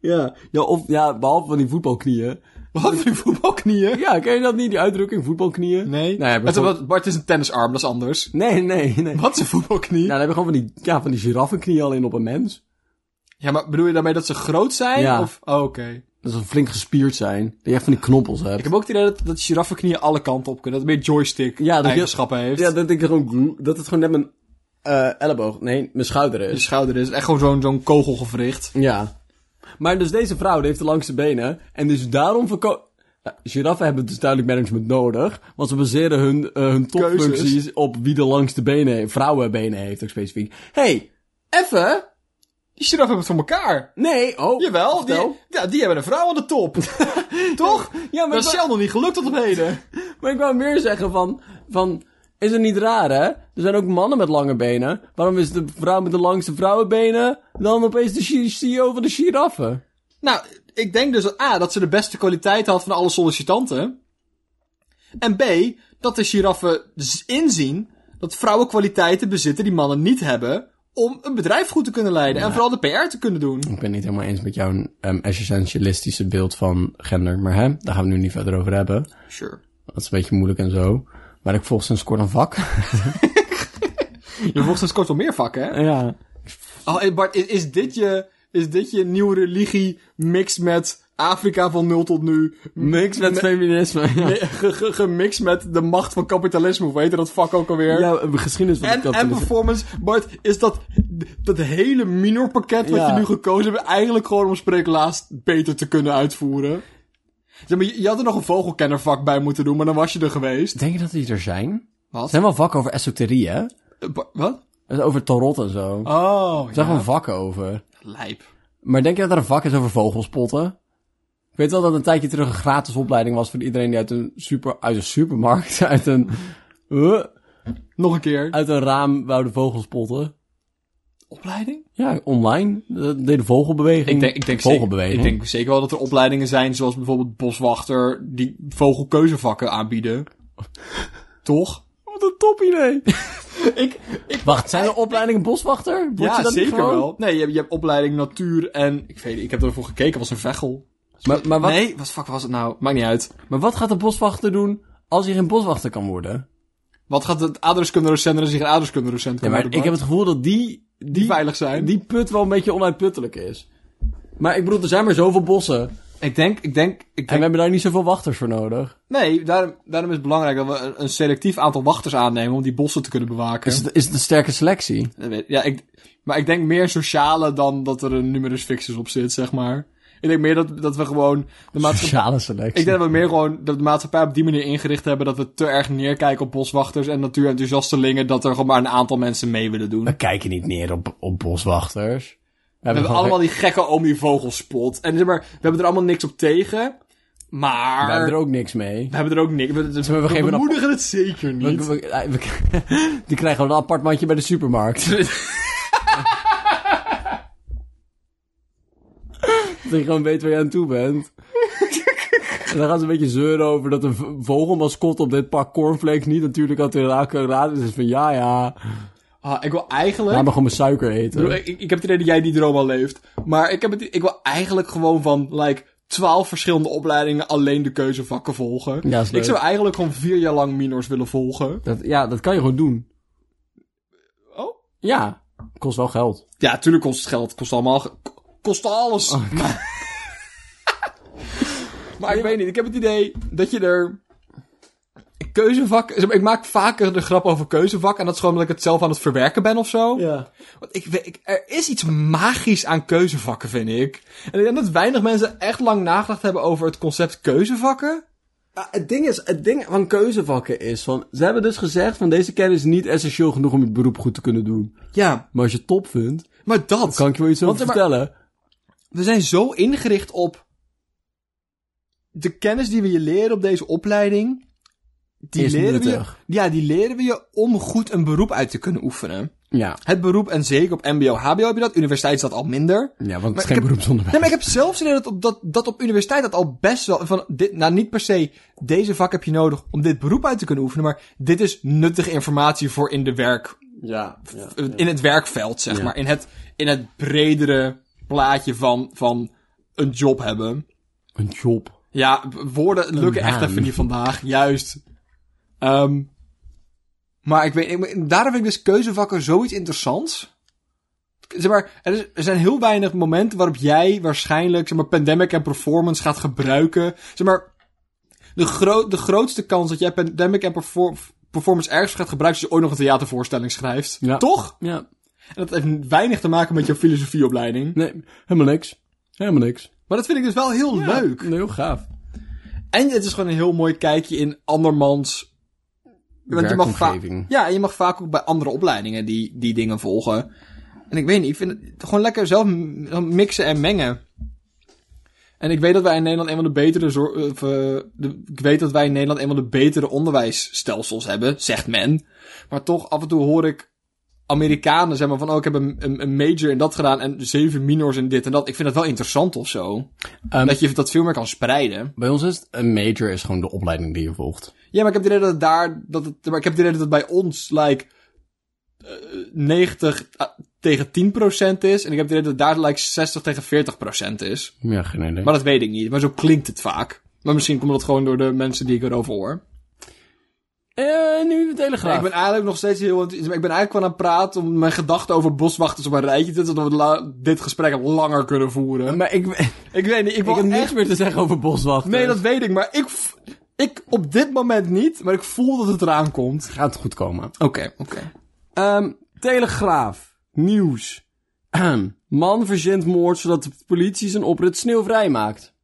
Speaker 3: ja, ja, of, ja, behalve van die voetbalknieën.
Speaker 1: Wat? Die voetbalknieën?
Speaker 3: Ja, ken je dat niet? Die uitdrukking, voetbalknieën?
Speaker 1: Nee.
Speaker 3: Nou, ja,
Speaker 1: Het-
Speaker 3: bijvoorbeeld-
Speaker 1: wat- Bart is een tennisarm, dat is anders.
Speaker 3: Nee, nee, nee.
Speaker 1: Wat is een voetbalknie?
Speaker 3: Ja, dan heb je gewoon van die, ja, van die giraffenknieën al in op een mens.
Speaker 1: Ja, maar bedoel je daarmee dat ze groot zijn?
Speaker 3: Ja.
Speaker 1: Of... oh, oké.
Speaker 3: Dat ze flink gespierd zijn. Dat je echt van die knoppels hebt.
Speaker 1: Ik heb ook het idee dat, dat giraffenknieën alle kanten op kunnen. Dat het meer
Speaker 3: Ja, dat je-
Speaker 1: joystick-eigenschappen heeft.
Speaker 3: Ja, dat, ik gewoon, dat het gewoon net mijn eh, elleboog, nee, mijn schouder
Speaker 1: Je
Speaker 3: is.
Speaker 1: schouder is echt gewoon zo'n zo'n kogelgewricht.
Speaker 3: Ja. Maar dus deze vrouw die heeft de langste benen. En dus daarom verkoopt... giraffen hebben dus duidelijk management nodig. Want ze baseren hun, eh, hun topfuncties
Speaker 1: Keuzes.
Speaker 3: op wie de langste benen heeft. Vrouwenbenen heeft ook specifiek. hey, effe?
Speaker 1: Die giraffen hebben het voor elkaar.
Speaker 3: Nee, oh.
Speaker 1: Jawel,
Speaker 3: vertel.
Speaker 1: die, ja, die hebben een vrouw aan de top. Toch?
Speaker 3: Ja, maar
Speaker 1: dat is
Speaker 3: dat-
Speaker 1: zelf nog niet gelukt tot op heden.
Speaker 3: Maar ik wou meer zeggen van, van... Is het niet raar, hè? Er zijn ook mannen met lange benen. Waarom is de vrouw met de langste vrouwenbenen dan opeens de chi- CEO van de giraffen?
Speaker 1: Nou, ik denk dus dat A, dat ze de beste kwaliteit had van alle sollicitanten. En B, dat de giraffen z- inzien dat vrouwen kwaliteiten bezitten die mannen niet hebben... om een bedrijf goed te kunnen leiden en vooral de PR te kunnen doen.
Speaker 3: Ik ben niet helemaal eens met jouw ehm, essentialistische beeld van gender. Maar hè, daar gaan we nu niet verder over hebben.
Speaker 1: Sure.
Speaker 3: Dat is een beetje moeilijk en zo. Maar ik volg sinds kort een vak.
Speaker 1: Je volgt sinds kort wel meer vakken, hè?
Speaker 3: ja.
Speaker 1: Oh, hey Bart, is, is dit je, is dit je nieuwe religie mixed met Afrika van nul tot nu?
Speaker 3: Mix met feminisme. Ja,
Speaker 1: Eh, ge- ge- Gemixt met de macht van kapitalisme, hoe heet dat vak ook alweer?
Speaker 3: ja eh, geschiedenis van
Speaker 1: en,
Speaker 3: de
Speaker 1: en
Speaker 3: kapitalisme.
Speaker 1: performance, Bart, is dat, dat hele minorpakket wat
Speaker 3: Ja.
Speaker 1: je nu gekozen hebt eigenlijk gewoon om spreeklaas beter te kunnen uitvoeren? Ja, maar je, je had er nog een vogelkennervak bij moeten doen, maar dan was je er geweest.
Speaker 3: Denk je dat die er zijn? Er
Speaker 1: Wat?
Speaker 3: zijn wel vakken over esoterie, hè? Dus
Speaker 1: Eh, Ba- wat?
Speaker 3: Over tarot en zo. Er
Speaker 1: Oh,
Speaker 3: zijn
Speaker 1: ja.
Speaker 3: gewoon vakken over.
Speaker 1: Lijp.
Speaker 3: Maar denk je dat er een vak is over vogelspotten? Ik weet wel dat een tijdje terug een gratis opleiding was voor iedereen die uit een, super, uit een supermarkt, uit een, Huh?
Speaker 1: Nog een keer.
Speaker 3: uit een raam wou vogels spotten.
Speaker 1: Opleiding?
Speaker 3: Ja, online. Dat deed de vogelbeweging.
Speaker 1: Ik denk, ik, denk zeker,
Speaker 3: vogelbeweging.
Speaker 1: ik denk zeker wel dat er opleidingen zijn, zoals bijvoorbeeld boswachter, die vogelkeuzevakken aanbieden. Toch?
Speaker 3: Wat een top idee.
Speaker 1: Ik, ik,
Speaker 3: Wacht, zijn er opleidingen boswachter? Word je
Speaker 1: ja,
Speaker 3: dat niet
Speaker 1: zeker
Speaker 3: gewoon?
Speaker 1: wel. Nee, je, hebt- je hebt opleiding natuur en, ik weet niet, ik heb ervoor gekeken, was een vechel.
Speaker 3: Maar, maar, wat,
Speaker 1: Nee, wat fuck was het nou? Maakt niet uit.
Speaker 3: maar wat gaat de boswachter doen als hij geen boswachter kan worden?
Speaker 1: Wat gaat het aardrijkskundedocent en zich een aardrijkskundedocent
Speaker 3: Ja, maar ik heb het gevoel dat die,
Speaker 1: die veilig zijn.
Speaker 3: die put wel een beetje onuitputtelijk is. Maar ik bedoel, er zijn maar zoveel bossen.
Speaker 1: Ik denk, ik denk, ik
Speaker 3: En we
Speaker 1: denk...
Speaker 3: hebben daar niet zoveel wachters voor nodig.
Speaker 1: Nee, daarom, daarom is het belangrijk dat we een- een selectief aantal wachters aannemen om die bossen te kunnen bewaken.
Speaker 3: Is het, is het een sterke selectie?
Speaker 1: Dat weet- Ja, ik, maar ik denk meer sociale dan dat er een numerus fixus op zit, zeg maar. Ik denk meer dat, dat we gewoon de maatschappij...
Speaker 3: Sociale selectie.
Speaker 1: Ik denk dat we meer gewoon dat de maatschappij op die manier ingericht hebben dat we te erg neerkijken op boswachters en natuurenthousiastelingen dat er gewoon maar een aantal mensen mee willen doen.
Speaker 3: We kijken niet neer op, op boswachters.
Speaker 1: We hebben allemaal die gekke oom die vogels spot. En zeg maar, we hebben er allemaal niks op tegen, maar...
Speaker 3: we hebben er ook niks mee.
Speaker 1: we hebben er ook niks. We, we,
Speaker 3: maar we geven een-
Speaker 1: bemoedigen het zeker
Speaker 3: We-
Speaker 1: niet.
Speaker 3: we- eh, we- die krijgen gewoon een apart mandje bij de supermarkt. dat je gewoon weet waar je aan toe bent. En dan gaan ze een beetje zeuren over dat een v- vogelmascot op dit pak cornflakes niet natuurlijk had te raken raad is. Dus van ja, ja,
Speaker 1: Ah, ik wil eigenlijk...
Speaker 3: laat maar gewoon mijn suiker
Speaker 1: Ik,
Speaker 3: eten.
Speaker 1: bedoel, ik, ik- ik heb het idee dat jij die droom al leeft. Maar ik, heb het, ik wil eigenlijk gewoon van, like, twaalf verschillende opleidingen alleen de keuzevakken volgen.
Speaker 3: Ja, is leuk.
Speaker 1: ik zou eigenlijk gewoon vier jaar lang minors willen volgen.
Speaker 3: Dat, ja, dat kan je gewoon doen.
Speaker 1: Oh?
Speaker 3: Ja, kost wel geld.
Speaker 1: Ja, tuurlijk kost het geld. Kost allemaal... ge- Kost alles.
Speaker 3: Oh,
Speaker 1: maar maar ik weet niet. Ik heb het idee dat je er... Keuzevak... zeg maar, Ik maak vaker de grap over keuzevak. En dat is gewoon omdat ik het zelf aan het verwerken ben of zo.
Speaker 3: Ja.
Speaker 1: Want ik, weet- ik, er is iets magisch aan keuzevakken, vind ik. En ik denk dat weinig mensen echt lang nagedacht hebben over het concept keuzevakken.
Speaker 3: Ja, Ah, het ding is, het ding van keuzevakken is van, ze hebben dus gezegd van deze kennis is niet essentieel genoeg om je beroep goed te kunnen doen.
Speaker 1: Ja,
Speaker 3: Maar als je het top vindt,
Speaker 1: maar dat.
Speaker 3: kan ik je wel iets over
Speaker 1: Want, maar-
Speaker 3: vertellen.
Speaker 1: We zijn zo ingericht op de kennis die we je leren op deze opleiding. Die
Speaker 3: Is
Speaker 1: leren we je,
Speaker 3: nuttig.
Speaker 1: ja, die leren we je om goed een beroep uit te kunnen oefenen.
Speaker 3: Ja,
Speaker 1: Het beroep, en zeker op mbo, hbo heb je dat. Universiteit is dat al minder.
Speaker 3: ja, want het is
Speaker 1: ik
Speaker 3: geen
Speaker 1: heb-
Speaker 3: beroepsonderwijs.
Speaker 1: Nee, maar ik heb zelfs het idee dat op, dat, dat op universiteit dat al best wel... Van dit, nou, niet per se deze vak heb je nodig om dit beroep uit te kunnen oefenen... maar dit is nuttige informatie voor in, de werk, eh,
Speaker 3: Ja, ja.
Speaker 1: in het werkveld, zeg
Speaker 3: Ja.
Speaker 1: maar. In het, in het bredere plaatje van, van een job hebben.
Speaker 3: Een job.
Speaker 1: Ja, b- woorden lukken echt
Speaker 3: naam.
Speaker 1: even niet vandaag. Juist. Ehm, maar ik weet, ik- daarom vind ik dus keuzevakken zoiets interessants. Zeg maar, er, is- er zijn heel weinig momenten waarop jij waarschijnlijk zeg maar, pandemic en performance gaat gebruiken. Zeg maar, de, gro- de grootste kans dat jij pandemic en perfor- performance ergens gaat gebruiken... is als je ooit nog een theatervoorstelling schrijft.
Speaker 3: Ja.
Speaker 1: Toch?
Speaker 3: Ja.
Speaker 1: En dat heeft weinig te maken met jouw filosofieopleiding.
Speaker 3: Nee, helemaal niks. Helemaal niks.
Speaker 1: Maar dat vind ik dus wel heel leuk.
Speaker 3: Nee, heel gaaf.
Speaker 1: En het is gewoon een heel mooi kijkje in andermans. Want je mag vaak.
Speaker 3: Werkomgeving.
Speaker 1: Ja, en je mag vaak ook bij andere opleidingen die, die dingen volgen. En ik weet niet, ik vind het gewoon lekker zelf m- mixen en mengen. En ik weet dat wij in Nederland een van de betere zor- of, eh, de- ik weet dat wij in Nederland een van de betere onderwijsstelsels hebben, zegt men. Maar toch, af en toe hoor ik Amerikanen zeg maar van, oh, ik heb een, een, een major in dat gedaan en zeven minors in dit en dat. Ik vind dat wel interessant of zo.
Speaker 3: Ehm,
Speaker 1: dat je dat veel meer kan spreiden.
Speaker 3: Bij ons is het, een major is gewoon de opleiding die je volgt.
Speaker 1: Ja, maar ik heb het idee dat het daar. Dat het, maar ik heb het idee dat het bij ons, like. eh, 90 a- tegen 10% is. En ik heb het idee dat het daar, like, 60 tegen 40% is.
Speaker 3: Ja, geen idee.
Speaker 1: Maar dat weet ik niet. Maar zo klinkt het vaak. Maar misschien komt dat gewoon door de mensen die ik erover hoor.
Speaker 3: Eh, nu de telegraaf.
Speaker 1: Ik ben eigenlijk nog steeds heel. ent- Ik ben eigenlijk wel aan het praten om mijn gedachten over boswachters op een rijtje te zetten. Zodat we la- dit gesprek langer kunnen voeren.
Speaker 3: Maar ik, ik
Speaker 1: Ik weet niet. Ik, wil
Speaker 3: heb
Speaker 1: echt
Speaker 3: niks meer te zeggen over boswachten.
Speaker 1: Nee, dat weet ik. Maar ik. v- Ik op dit moment niet. Maar ik voel dat het eraan komt.
Speaker 3: gaat goed komen.
Speaker 1: Oké, oké.
Speaker 3: Ehm, telegraaf. Nieuws. Ahem. Man verzint moord zodat de politie zijn oprit sneeuwvrij maakt.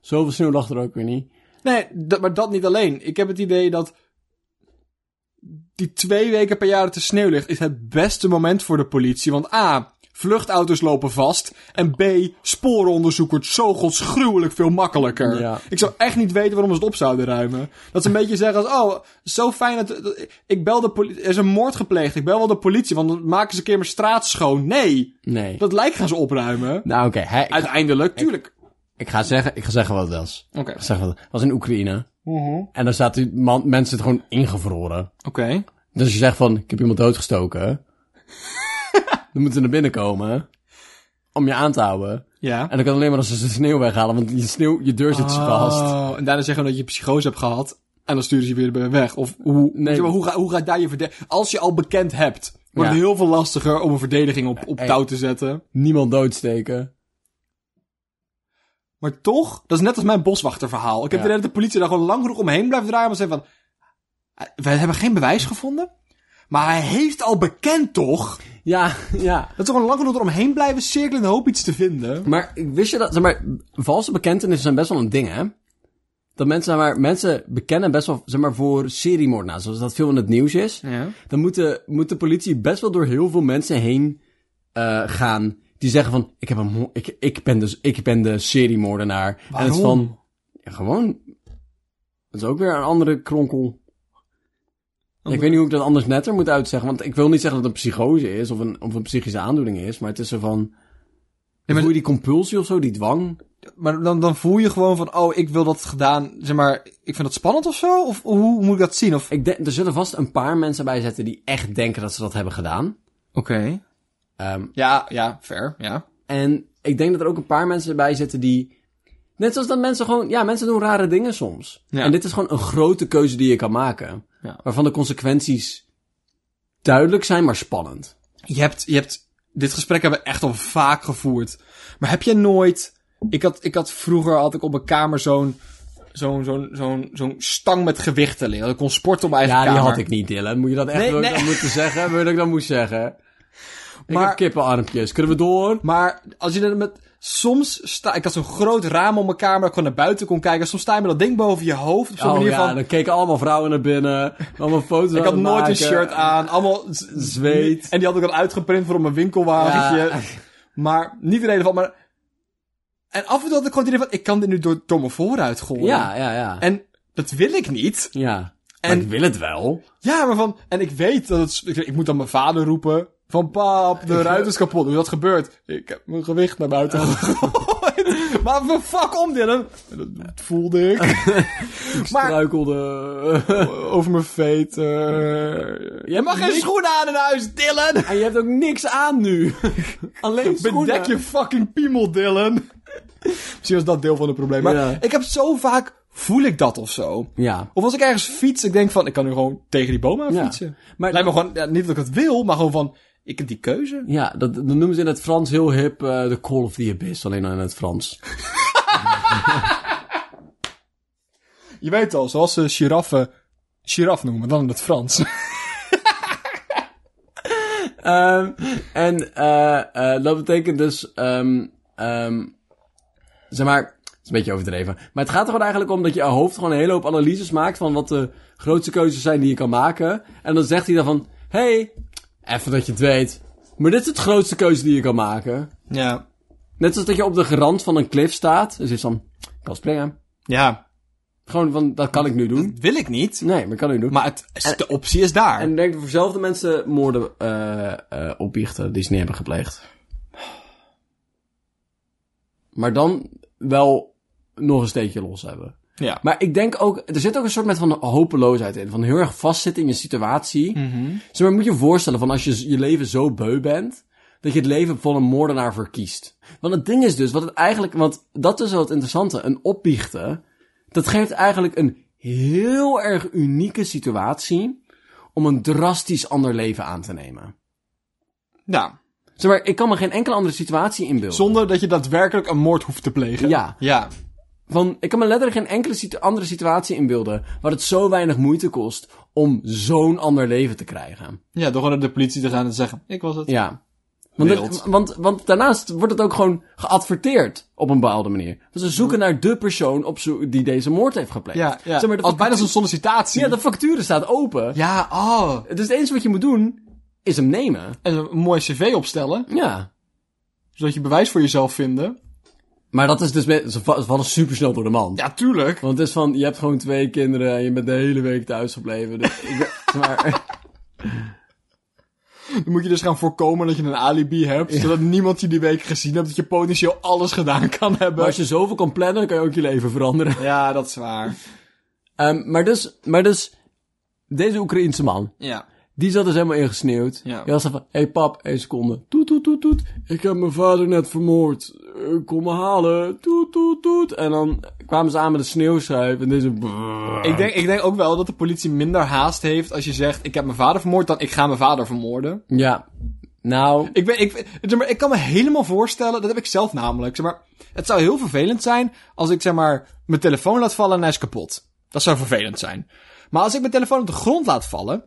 Speaker 3: Zoveel sneeuw lag er ook weer niet.
Speaker 1: Nee, dat, maar dat niet alleen. Ik heb het idee dat die twee weken per jaar dat de sneeuw ligt, is het beste moment voor de politie. Want A, vluchtauto's lopen vast. En B, sporenonderzoek wordt zo godsgruwelijk veel makkelijker.
Speaker 3: Ja.
Speaker 1: Ik zou echt niet weten waarom ze het op zouden ruimen. Dat ze een beetje zeggen als, oh, zo fijn dat... dat- ik bel de politie... Er is een moord gepleegd. Ik bel wel de politie, want dan maken ze een keer mijn straat schoon. Nee,
Speaker 3: Nee.
Speaker 1: dat lijk gaan ze opruimen.
Speaker 3: Nou, oké. hij- Ik,
Speaker 1: Uiteindelijk, tuurlijk.
Speaker 3: ik ga zeggen, ik ga zeggen wat het was.
Speaker 1: Oké,
Speaker 3: Ik ga zeggen wat het was. in Oekraïne. En daar zaten die man, mensen het gewoon ingevroren.
Speaker 1: oké.
Speaker 3: Dus je zegt van, ik heb iemand doodgestoken. dan moeten ze naar binnen komen. Om je aan te houden.
Speaker 1: Ja.
Speaker 3: En dan kan alleen maar als ze de sneeuw weghalen, want je, sneeuw, je deur zit vast.
Speaker 1: Oh, en daarna zeggen we dat je psychose hebt gehad. En dan sturen ze je weer weg. Of hoe,
Speaker 3: Nee.
Speaker 1: zeg maar, hoe, ga, hoe gaat daar je verdediging... Als je al bekend hebt, wordt
Speaker 3: Ja.
Speaker 1: het heel veel lastiger om een verdediging op, op
Speaker 3: Hey.
Speaker 1: touw te zetten.
Speaker 3: Niemand doodsteken.
Speaker 1: Maar toch, dat is net als mijn boswachterverhaal. Ik heb
Speaker 3: Ja.
Speaker 1: de reden dat de politie daar gewoon lang genoeg omheen blijft draaien. Maar ze zeggen van, we hebben geen bewijs gevonden. Maar hij heeft al bekend, toch?
Speaker 3: Ja, ja.
Speaker 1: Dat ze gewoon lang genoeg eromheen blijven cirkelen in de hoop iets te vinden.
Speaker 3: Maar wist je dat, zeg maar, valse bekentenissen zijn best wel een ding, hè? Dat mensen, zeg maar, mensen bekennen best wel, zeg maar, voor seriemoordenaars, zoals dat veel in het nieuws is.
Speaker 1: Ja.
Speaker 3: Dan moet de, moet de politie best wel door heel veel mensen heen eh, gaan die zeggen van, ik, heb een, mo- ik, ik, ben, dus, ik ben de seriemoordenaar. En het is van, ja, gewoon, dat is ook weer een andere kronkel. Ik weet niet hoe ik dat anders netter moet uitzeggen, want ik wil niet zeggen dat het een psychose is of een, of een psychische aandoening is, maar het is zo van, voel je die compulsie of zo, die dwang?
Speaker 1: Maar dan, dan voel je gewoon van, oh, ik wil dat gedaan. Zeg maar, ik vind dat spannend of zo? Of hoe moet ik dat zien? Of...
Speaker 3: Ik denk, er zullen vast een paar mensen bij zitten die echt denken dat ze dat hebben gedaan.
Speaker 1: Oké.
Speaker 3: Ehm,
Speaker 1: Ja, ja, fair, ja.
Speaker 3: en ik denk dat er ook een paar mensen bij zitten die... Net zoals dat mensen gewoon... Ja, mensen doen rare dingen soms.
Speaker 1: Ja.
Speaker 3: En dit is gewoon een grote keuze die je kan maken.
Speaker 1: Ja.
Speaker 3: Waarvan de consequenties duidelijk zijn, maar spannend.
Speaker 1: Je hebt, je hebt, dit gesprek hebben we echt al vaak gevoerd. Maar heb jij nooit, ik had, ik had vroeger, had ik op mijn kamer zo'n, zo'n, zo'n, zo'n, zo'n stang met gewichten liggen. Dat ik kon sporten op mijn eigen
Speaker 3: Ja, die
Speaker 1: kamer.
Speaker 3: had ik niet, Dylan. Moet je dat echt
Speaker 1: Nee,
Speaker 3: wil ik
Speaker 1: nee.
Speaker 3: dat moeten zeggen? Wil je dat ik dat moest zeggen?
Speaker 1: Maar-
Speaker 3: Ik heb kippenarmpjes. Kunnen we door?
Speaker 1: Maar als je dan met, soms sta, ik had zo'n groot raam op mijn kamer dat ik gewoon naar buiten kon kijken. Soms sta je met dat ding boven je hoofd op zo'n
Speaker 3: Oh
Speaker 1: manier
Speaker 3: ja,
Speaker 1: van,
Speaker 3: dan keken allemaal vrouwen naar binnen. Allemaal foto's
Speaker 1: ik had nooit een shirt aan. Allemaal z-
Speaker 3: Zweet.
Speaker 1: En die had ik dan uitgeprint voor op mijn winkelwagentje.
Speaker 3: Ja.
Speaker 1: Maar niet relevant, maar... En af en toe had ik gewoon het idee van, ik kan dit nu door, door mijn vooruit gooien.
Speaker 3: Ja, ja, ja.
Speaker 1: En dat wil ik niet.
Speaker 3: Ja.
Speaker 1: En-
Speaker 3: En ik wil het wel.
Speaker 1: Ja, maar van... En ik weet dat het... Ik, ik moet dan mijn vader roepen. Van pap, de ruit is kapot. Hoe is dat gebeurt? Ik heb mijn gewicht naar buiten gegooid. maar van fuck om, Dylan. Dat voelde ik. maar
Speaker 3: Struikelde.
Speaker 1: over mijn veten. Jij mag geen
Speaker 3: Niks-
Speaker 1: schoenen aan in huis, Dylan.
Speaker 3: en je hebt ook niks aan nu. Alleen schoenen.
Speaker 1: Bedek je fucking piemel, Dylan. Misschien was dat deel van het probleem. Maar
Speaker 3: Ja.
Speaker 1: ik heb zo vaak, voel ik dat of zo.
Speaker 3: Ja.
Speaker 1: Of als ik ergens fiets, ik denk van, ik kan nu gewoon tegen die boom aan
Speaker 3: Ja.
Speaker 1: fietsen.
Speaker 3: Maar-
Speaker 1: Lijkt me gewoon, ja, niet dat ik het wil, maar gewoon van, ik heb die keuze.
Speaker 3: Ja, dat, dat noemen ze in het Frans heel hip eh, de Call of the Abyss, alleen dan in het Frans.
Speaker 1: Je weet al, zoals ze giraffen, giraf noemen, dan in het Frans.
Speaker 3: Ehm, en eh, eh, dat betekent dus, ehm, ehm, zeg maar, het is een beetje overdreven. Maar het gaat er gewoon eigenlijk om dat je hoofd gewoon een hele hoop analyses maakt van wat de grootste keuzes zijn die je kan maken. En dan zegt hij dan van, hey, even dat je het weet, maar dit is het grootste keuze die je kan maken.
Speaker 1: ja.
Speaker 3: Net zoals dat je op de rand van een klif staat, dus is van, ik kan springen.
Speaker 1: Ja.
Speaker 3: Gewoon van, dat kan ik nu doen.
Speaker 1: Wil ik niet,
Speaker 3: Nee, maar ik kan ik doen.
Speaker 1: maar het, de optie is daar.
Speaker 3: En ik denk dat voor zelfde mensen moorden eh eh, opbiechten die ze niet hebben gepleegd. Maar dan wel nog een steekje los hebben.
Speaker 1: ja.
Speaker 3: Maar ik denk ook, er zit ook een soort met van hopeloosheid in. Van heel erg vastzitten in je situatie. Zeg maar, moet je je voorstellen van als je je leven zo beu bent, dat je het leven van een moordenaar verkiest. Want het ding is dus, wat het eigenlijk, want dat is wel het interessante, een opbiechten, dat geeft eigenlijk een heel erg unieke situatie om een drastisch ander leven aan te nemen.
Speaker 1: Nou,
Speaker 3: Zeg maar, ik kan me geen enkele andere situatie inbeelden.
Speaker 1: zonder dat je daadwerkelijk een moord hoeft te plegen.
Speaker 3: Ja.
Speaker 1: Ja.
Speaker 3: Van, ik kan me letterlijk geen enkele situ- andere situatie inbeelden waar het zo weinig moeite kost om zo'n ander leven te krijgen.
Speaker 1: Ja, door gewoon naar de politie te gaan en te zeggen, ik was het.
Speaker 3: Ja. Want,
Speaker 1: Wild.
Speaker 3: het- want, want daarnaast wordt het ook gewoon geadverteerd op een bepaalde manier. Want ze zoeken naar de persoon op zo- die deze moord heeft gepleegd.
Speaker 1: Ja, ja.
Speaker 3: Zeg maar, de
Speaker 1: Als bijna
Speaker 3: factuur-
Speaker 1: zo'n sollicitatie.
Speaker 3: ja, de factuur staat open.
Speaker 1: Ja, oh.
Speaker 3: Dus het enige wat je moet doen, is hem nemen.
Speaker 1: En een mooi cv opstellen,
Speaker 3: Ja.
Speaker 1: zodat je bewijs voor jezelf vinden.
Speaker 3: Maar dat is dus, met, ze va- ze vallen super snel door de mand.
Speaker 1: Ja, tuurlijk.
Speaker 3: Want het is van, je hebt gewoon twee kinderen en je bent de hele week thuis gebleven. Dus ik, zeg maar...
Speaker 1: Dan moet je dus gaan voorkomen dat je een alibi hebt, zodat niemand je die week gezien hebt, dat je potentieel alles gedaan kan hebben.
Speaker 3: Maar als je zoveel kan plannen, dan kan je ook je leven veranderen.
Speaker 1: Ja, dat is waar.
Speaker 3: Ehm, maar, dus, maar dus, deze Oekraïense man,
Speaker 1: Ja.
Speaker 3: die zat dus helemaal ingesneeuwd.
Speaker 1: Ja.
Speaker 3: Hij was dan van, hé hey pap, één seconde. Toet, toet, toet, toet. Ik heb mijn vader net vermoord. Eh, kom me halen. Toet, toet, toet. En dan kwamen ze aan met een sneeuwschuif en deze...
Speaker 1: Ik denk, ik denk ook wel dat de politie minder haast heeft als je zegt, ik heb mijn vader vermoord, dan ik ga mijn vader vermoorden.
Speaker 3: Ja, nou...
Speaker 1: Ik, ben, ik, zeg maar, ik kan me helemaal voorstellen, dat heb ik zelf namelijk. Zeg maar, het zou heel vervelend zijn als ik zeg maar, mijn telefoon laat vallen en hij is kapot. Dat zou vervelend zijn. Maar als ik mijn telefoon op de grond laat vallen,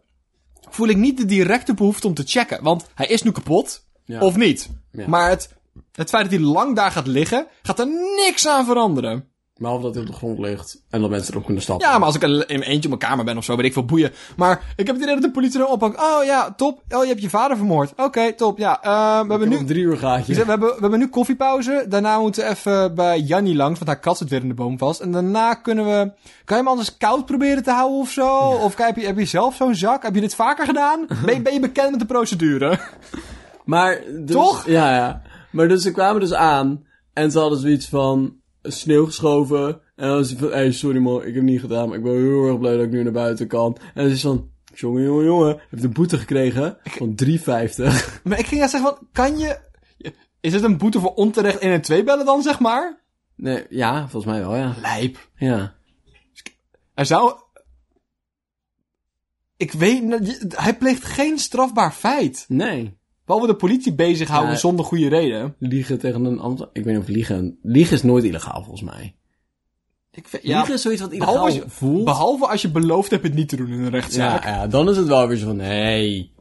Speaker 1: voel ik niet de directe behoefte om te checken. Want hij is nu kapot,
Speaker 3: Ja.
Speaker 1: of niet.
Speaker 3: Ja.
Speaker 1: Maar het, het feit dat hij lang daar gaat liggen, gaat er niks aan veranderen.
Speaker 3: Maar of dat hij op de grond ligt en dat mensen erop kunnen stappen.
Speaker 1: Ja, maar als ik al- in mijn eentje op mijn kamer ben of zo, weet ik veel boeien. Maar ik heb het idee dat de politie dan oppakt. Oh ja, top. Oh, je hebt je vader vermoord. Oké, top. Ja, eh, we hebben
Speaker 3: nu...
Speaker 1: nu
Speaker 3: Op drie uur gaat
Speaker 1: dus
Speaker 3: je.
Speaker 1: we, hebben, we hebben nu koffiepauze. Daarna moeten we even bij Jannie langs, want haar kat zit weer in de boom vast. En daarna kunnen we... Kan je hem anders koud proberen te houden of zo? Of kan, heb, je, heb je zelf zo'n zak? Heb je dit vaker gedaan? Ben, je- ben je bekend met de procedure?
Speaker 3: Maar dus-
Speaker 1: Toch?
Speaker 3: Ja, ja. Maar dus ze kwamen dus aan en ze hadden zoiets van sneeuw geschoven. En dan was ze van, hey, sorry man, ik heb het niet gedaan, maar ik ben heel erg blij dat ik nu naar buiten kan. En ze is van, jongen, jongen, jongen, heeft een boete gekregen van 3,50.
Speaker 1: Maar ik ging juist zeggen van, kan je... Is het een boete voor onterecht 1 en 2 bellen dan, zeg maar?
Speaker 3: Nee, ja, volgens mij wel, ja.
Speaker 1: Lijp.
Speaker 3: Ja.
Speaker 1: Er zou... Ik weet... niet- Hij pleegt geen strafbaar feit.
Speaker 3: Nee.
Speaker 1: Behalve de politie bezighouden
Speaker 3: Nee.
Speaker 1: zonder goede reden.
Speaker 3: Liegen tegen een ander. Ik weet niet of liegen. Liegen is nooit illegaal, volgens mij.
Speaker 1: Ik vind,
Speaker 3: Liegen is zoiets wat illegaal
Speaker 1: Behalve als, je,
Speaker 3: voelt.
Speaker 1: behalve als je beloofd hebt het niet te doen in een rechtszaak.
Speaker 3: ja, ja, dan is het wel weer zo van, hey,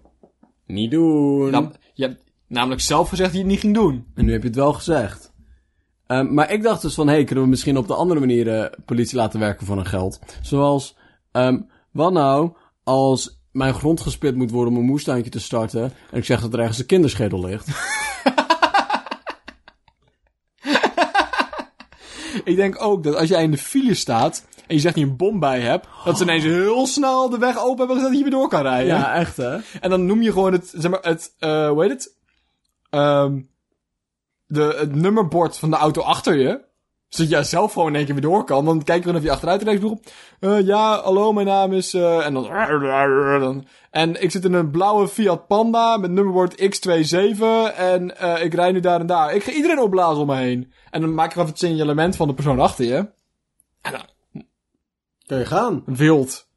Speaker 3: niet doen.
Speaker 1: Nam- je hebt namelijk zelf gezegd dat je het niet ging doen.
Speaker 3: En nu heb je het wel gezegd. Ehm, maar ik dacht dus van, hé, hey, kunnen we misschien op de andere manier eh, politie laten werken voor hun geld? Zoals, ehm, wat nou als mijn grond gespit moet worden om een moestuintje te starten en ik zeg dat er ergens een kinderschedel ligt?
Speaker 1: Ik denk ook dat als jij in de file staat en je zegt niet een bom bij hebt, dat ze ineens heel snel de weg open hebben gezet dat je weer door kan rijden.
Speaker 3: ja, echt hè?
Speaker 1: En dan noem je gewoon het, zeg maar, het, eh, hoe heet het? Ehm, de, het nummerbord van de auto achter je. Zodat jij zelf gewoon in één keer weer door kan. Dan kijk je of je achteruit rechts roept. Eh, ja, hallo, mijn naam is... eh, en dan... En ik zit in een blauwe Fiat Panda met nummerbord X27. En eh, ik rij nu daar en daar. Ik ga iedereen opblazen om me heen. En dan maak je even het signalement van de persoon achter je. En dan...
Speaker 3: Kan je gaan?
Speaker 1: Wild.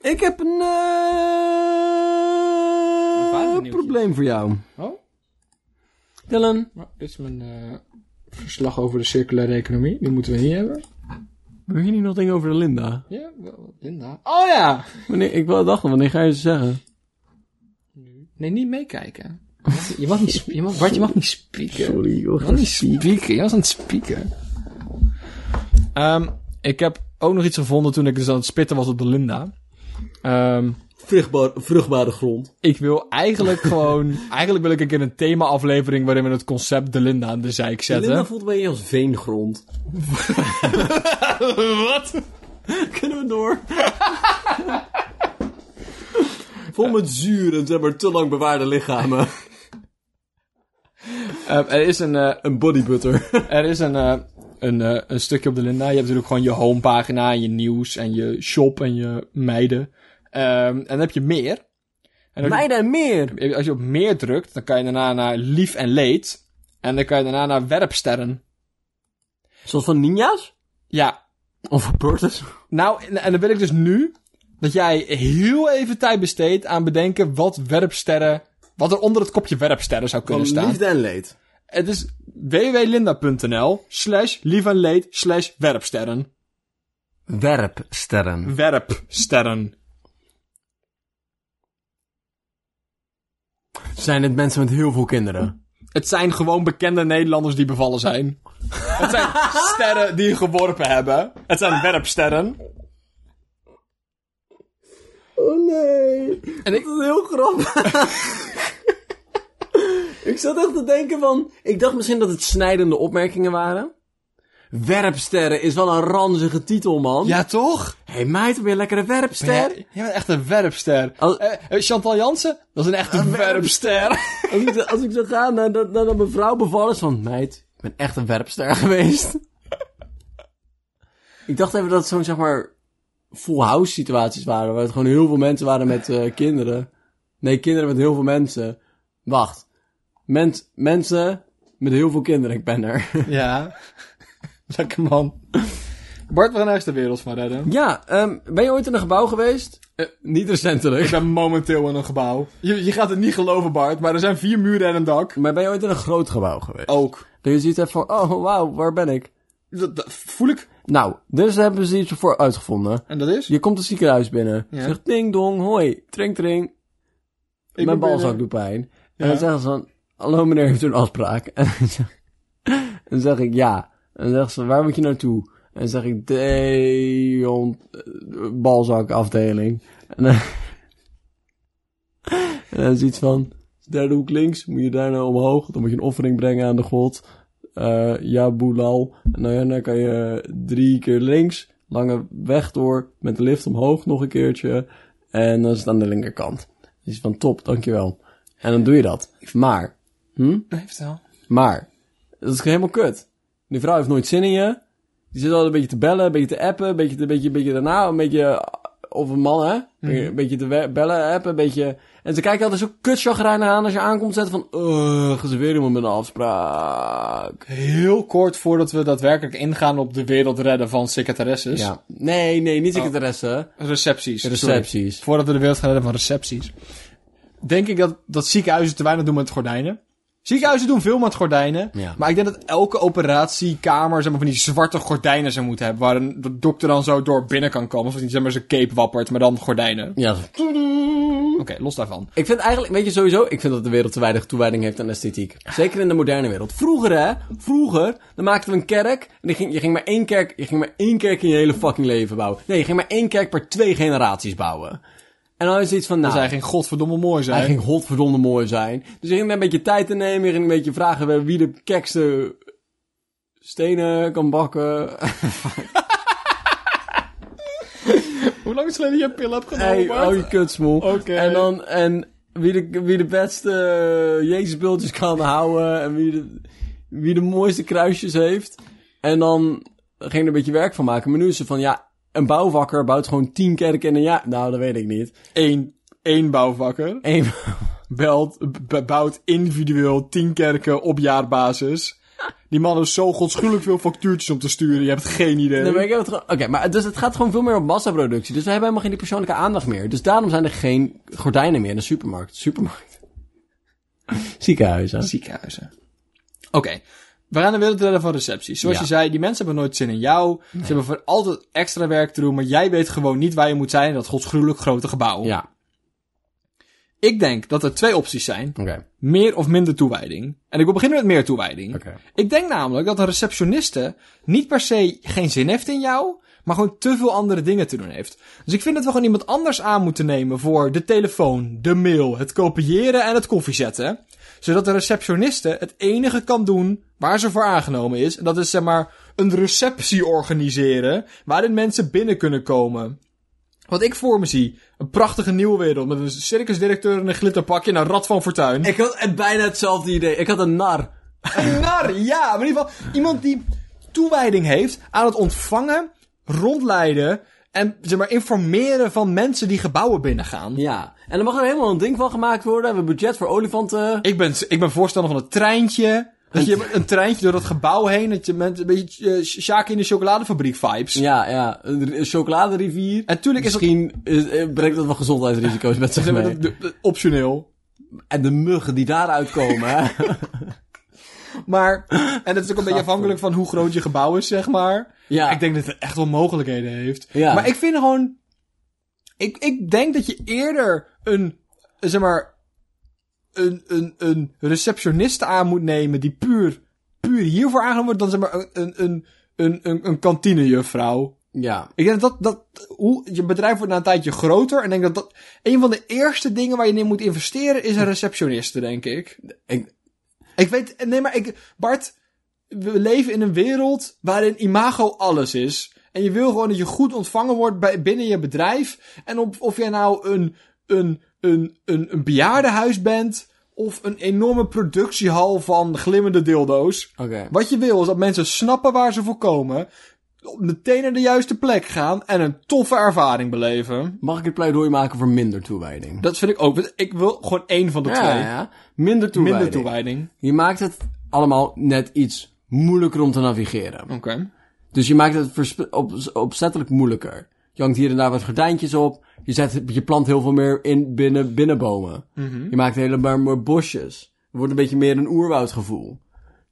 Speaker 3: Ik heb een, eh,
Speaker 1: Een vadernieuwtje.
Speaker 3: probleem voor jou.
Speaker 1: Oh?
Speaker 3: Dylan,
Speaker 1: Nou, dit is mijn eh, verslag over de circulaire economie. Die moeten we niet hebben.
Speaker 4: Wil je niet nog dingen over de Linda?
Speaker 1: Ja, Linda. Oh ja!
Speaker 4: Wanneer, ik wel- dacht al, wanneer ga je ze zeggen?
Speaker 1: Nee, niet meekijken. Je mag niet, sp- je mag, Bart, je mag niet spieken.
Speaker 3: Sorry, joh.
Speaker 1: Je mag niet spieken. Je was aan het spieken. Ehm, ik heb ook nog iets gevonden toen ik dus aan het spitten was op de Linda. Ehm,
Speaker 3: Vruchtbaar, vruchtbare grond.
Speaker 1: ik wil eigenlijk gewoon... Eigenlijk wil ik een keer een thema-aflevering waarin we het concept de Linda aan de zeik zetten.
Speaker 3: Linda voelt een beetje als veengrond.
Speaker 1: Wat?
Speaker 3: Kunnen we door? Vol met zuur en zeg maar te lang bewaarde lichamen.
Speaker 1: Ehm, er is een... eh,
Speaker 3: Een bodybutter.
Speaker 1: Er is een, eh, een, eh, een stukje op de Linda. Je hebt natuurlijk gewoon je homepagina en je nieuws en je shop en je meiden. Ehm, en dan heb je meer. En als,
Speaker 4: en meer!
Speaker 1: je, als je op meer drukt, dan kan je daarna naar lief en leed. En dan kan je daarna naar werpsterren.
Speaker 4: Zoals van ninja's?
Speaker 1: Ja,
Speaker 4: Of Burtus?
Speaker 1: nou, en, en dan wil ik dus nu dat jij heel even tijd besteedt aan bedenken wat werpsterren... Wat er onder het kopje werpsterren zou
Speaker 3: Van
Speaker 1: kunnen staan.
Speaker 3: liefde en leed.
Speaker 1: Het is www.linda.nl slash lief en leed slash werpsterren.
Speaker 4: Werpsterren.
Speaker 1: Werpsterren.
Speaker 4: Zijn het mensen met heel veel kinderen?
Speaker 1: Het zijn gewoon bekende Nederlanders die bevallen zijn. Het zijn sterren die geworpen hebben. Het zijn werpsterren.
Speaker 3: Oh nee.
Speaker 1: En ik,
Speaker 3: Dat is heel grappig. ik zat echt te denken van... Ik dacht misschien dat het snijdende opmerkingen waren. Werpsterren is wel een ranzige titel, man.
Speaker 1: ja, toch?
Speaker 3: Hé hey, meid, ben je een lekkere
Speaker 1: Ja,
Speaker 3: werpster?
Speaker 1: jij bent echt een werpster.
Speaker 3: Als-
Speaker 1: Eh, eh, Chantal Jansen, dat is een echte werpster.
Speaker 3: Als, ik, zo- als ik zo ga naar, naar, naar mijn vrouw bevallen is van... Meid, ik ben echt een werpster geweest. ik dacht even dat het zo'n, zeg maar... Full house situaties waren. Waar het gewoon heel veel mensen waren met eh, kinderen. Nee, kinderen met heel veel mensen. Wacht. Mens, mensen met heel veel kinderen. Ik ben er.
Speaker 1: Ja. Lekker man. Bart, we gaan ergens de wereld van redden.
Speaker 3: Ja, ehm, ben je ooit in een gebouw geweest? Eh, niet recentelijk.
Speaker 1: Ik ben momenteel in een gebouw. Je, je gaat het niet geloven, Bart, maar er zijn vier muren en een dak.
Speaker 3: Maar ben je ooit in een groot gebouw geweest?
Speaker 1: Ook.
Speaker 3: Dat je zoiets hebt van, oh wauw, waar ben ik?
Speaker 1: Dat, dat voel ik.
Speaker 3: Nou, dus hebben ze iets voor uitgevonden.
Speaker 1: En dat is?
Speaker 3: Je komt het ziekenhuis binnen.
Speaker 1: Ja.
Speaker 3: Zegt ding dong, hoi, tring tring.
Speaker 1: Ik ben
Speaker 3: Mijn balzak
Speaker 1: binnen.
Speaker 3: doet pijn.
Speaker 1: Ja.
Speaker 3: En dan zeggen ze van, hallo meneer, heeft u een afspraak? En dan zeg- en dan zeg ik ja. En dan zeggen ze, waar moet je naartoe? En dan zeg ik, Deon, eh, balzakafdeling. En dan, en dan is iets van, derde hoek links, moet je daarna omhoog. Dan moet je een offering brengen aan de god. Eh, ja, boelal. En dan, ja, dan kan je eh, drie keer links, lange weg door, met de lift omhoog nog een keertje. En dan is het aan de linkerkant. Dus van top, dankjewel. En dan doe je dat. Maar,
Speaker 1: Nee, vertel.
Speaker 3: maar, dat is helemaal kut. Die vrouw heeft nooit zin in je. Die zit altijd een beetje te bellen, een beetje te appen, een beetje, een beetje, een beetje daarna, een beetje... eh, Of een man, hè? Een beetje te we- bellen, appen, een beetje... En ze kijken altijd zo kutchagrijnig aan als je aankomt zetten van... eh ze weer iemand met een afspraak.
Speaker 1: Heel kort voordat we daadwerkelijk ingaan op de wereld redden van secretaresses.
Speaker 3: Ja. Dus, Nee, nee, niet secretaresse.
Speaker 1: Recepties. sorry.
Speaker 3: Recepties.
Speaker 1: Voordat we de wereld gaan redden van recepties. Denk ik dat, dat ziekenhuizen te weinig doen met gordijnen. Ziekenhuizen doen veel met gordijnen.
Speaker 3: Ja.
Speaker 1: Maar ik denk dat elke operatiekamer zeg maar, van die zwarte gordijnen zou moeten hebben. Waar een de dokter dan zo door binnen kan komen. Of dat hij zeg maar, zijn cape wappert, maar dan gordijnen. Oké,
Speaker 3: Ja. Hm.
Speaker 1: los daarvan.
Speaker 3: Ik vind eigenlijk, weet je sowieso, ik vind dat de wereld te weinig toewijding heeft aan esthetiek. Zeker in de moderne wereld. Vroeger hè, vroeger, dan maakten we een kerk en dan ging, je, ging maar één kerk, je ging maar één kerk in je hele fucking leven bouwen. Nee, je ging maar één kerk per twee generaties bouwen. En dan is het iets van, nou,
Speaker 1: Zij ging godverdomme mooi zijn.
Speaker 3: hij ging godverdomme mooi zijn. Dus je ging een beetje tijd te nemen, je ging een beetje vragen wie de kekste stenen kan bakken.
Speaker 1: Hoe lang is het geleden dat je een pil hebt genomen?
Speaker 3: Hey,
Speaker 1: Bart?
Speaker 3: oh je kutsmoel.
Speaker 1: Oké.
Speaker 3: En dan, en wie de, wie de beste eh, Jezusbeeldjes kan houden en wie de, wie de mooiste kruisjes heeft. En dan ging er een beetje werk van maken. Maar nu is ze van, ja, een bouwvakker bouwt gewoon tien kerken in een jaar. Nou, dat weet ik niet.
Speaker 1: Eén, één bouwvakker
Speaker 3: Eén
Speaker 1: belt, b- bouwt individueel tien kerken op jaarbasis. Die man heeft zo godschuwelijk veel factuurtjes om te sturen. Je hebt geen idee.
Speaker 3: Nee, maar ik heb het gewoon- Oké, maar dus het gaat gewoon veel meer om massaproductie. Dus we hebben helemaal geen die persoonlijke aandacht meer. Dus daarom zijn er geen gordijnen meer in de supermarkt. Supermarkt. Ziekenhuizen.
Speaker 1: Ziekenhuizen. Oké. We gaan de wereld redden van recepties. Zoals
Speaker 3: Ja.
Speaker 1: je zei, die mensen hebben nooit zin in jou. Ze hebben voor altijd extra werk te doen. Maar jij weet gewoon niet waar je moet zijn in dat godsgruwelijk grote gebouw.
Speaker 3: Ja,
Speaker 1: Ik denk dat er twee opties zijn.
Speaker 3: oké.
Speaker 1: Meer of minder toewijding. En ik wil beginnen met meer toewijding.
Speaker 3: Oké.
Speaker 1: Ik denk namelijk dat een receptioniste niet per se geen zin heeft in jou, maar gewoon te veel andere dingen te doen heeft. Dus ik vind dat we gewoon iemand anders aan moeten nemen voor de telefoon, de mail, het kopiëren en het koffie zetten. Zodat de receptioniste het enige kan doen waar ze voor aangenomen is. En dat is zeg maar een receptie organiseren waarin mensen binnen kunnen komen. Wat ik voor me zie, een prachtige nieuwe wereld met een circusdirecteur in een glitterpakje en een rad van fortuin.
Speaker 3: Ik had het bijna hetzelfde idee. Ik had een nar.
Speaker 1: Een nar, ja. Maar in ieder geval iemand die toewijding heeft aan het ontvangen, rondleiden en zeg maar informeren van mensen die gebouwen binnengaan.
Speaker 3: Ja. En er mag er helemaal een ding van gemaakt worden. We hebben budget voor olifanten.
Speaker 1: Ik ben, ik ben voorstander van het treintje. Dat je een treintje door dat gebouw heen, dat je met een beetje eh, Sjaak in de chocoladefabriek vibes.
Speaker 3: Ja, ja. Een een chocoladerivier.
Speaker 1: En tuurlijk is dat,
Speaker 3: Misschien is- eh, brengt dat wel gezondheidsrisico's met zich
Speaker 1: zeg maar,
Speaker 3: mee.
Speaker 1: dat- dat- dat- optioneel.
Speaker 3: En de muggen die daaruit komen. hè.
Speaker 1: Maar, en het is ook een beetje afhankelijk van hoe groot je gebouw is, zeg maar.
Speaker 3: ja.
Speaker 1: Ik denk dat het echt wel mogelijkheden heeft.
Speaker 3: Ja.
Speaker 1: Maar ik vind gewoon. Ik, ik denk dat je eerder een. Zeg maar. Een, een, een receptioniste aan moet nemen die puur, puur hiervoor aangenomen wordt dan zeg maar een, een, een, een, een, een kantinejuffrouw.
Speaker 3: ja.
Speaker 1: Ik denk dat, dat hoe, je bedrijf wordt na een tijdje groter. En ik denk dat dat een van de eerste dingen waar je in moet investeren is een receptioniste, denk ik.
Speaker 3: Ik-
Speaker 1: ik weet, nee maar ik, Bart, we leven in een wereld waarin imago alles is. En je wil gewoon dat je goed ontvangen wordt bij, binnen je bedrijf. En of, of jij nou een, een, een, een, een bejaardenhuis bent of een enorme productiehal van glimmende dildo's.
Speaker 3: Oké.
Speaker 1: Wat je wil is dat mensen snappen waar ze voor komen, meteen naar de juiste plek gaan en een toffe ervaring beleven.
Speaker 3: Mag ik het pleidooi maken voor minder toewijding?
Speaker 1: Dat vind ik ook. want Ik wil gewoon één van de
Speaker 3: Ja,
Speaker 1: twee.
Speaker 3: ja. Minder toewijding.
Speaker 1: Minder toewijding.
Speaker 3: Je maakt het allemaal net iets moeilijker om te navigeren.
Speaker 1: Oké.
Speaker 3: Dus je maakt het versp- op, opzettelijk moeilijker. Je hangt hier en daar wat gordijntjes op. Je, zet, je plant heel veel meer in binnen, binnenbomen.
Speaker 1: Mhm.
Speaker 3: Je maakt helemaal meer bosjes. Het wordt een beetje meer een oerwoudgevoel.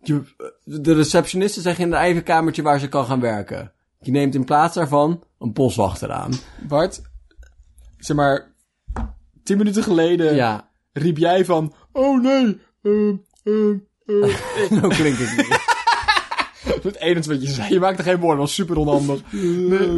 Speaker 3: Je, de receptionisten zeggen in een eigen kamertje waar ze kan gaan werken. Je neemt in plaats daarvan een boswachter aan.
Speaker 1: Bart, zeg maar, tien minuten geleden
Speaker 3: Ja,
Speaker 1: riep jij van, oh nee, ehm, ehm, ehm."
Speaker 3: zo Nou klinkt het niet.
Speaker 1: Het enige wat je zei, je maakte geen woorden, dat was super onhandig.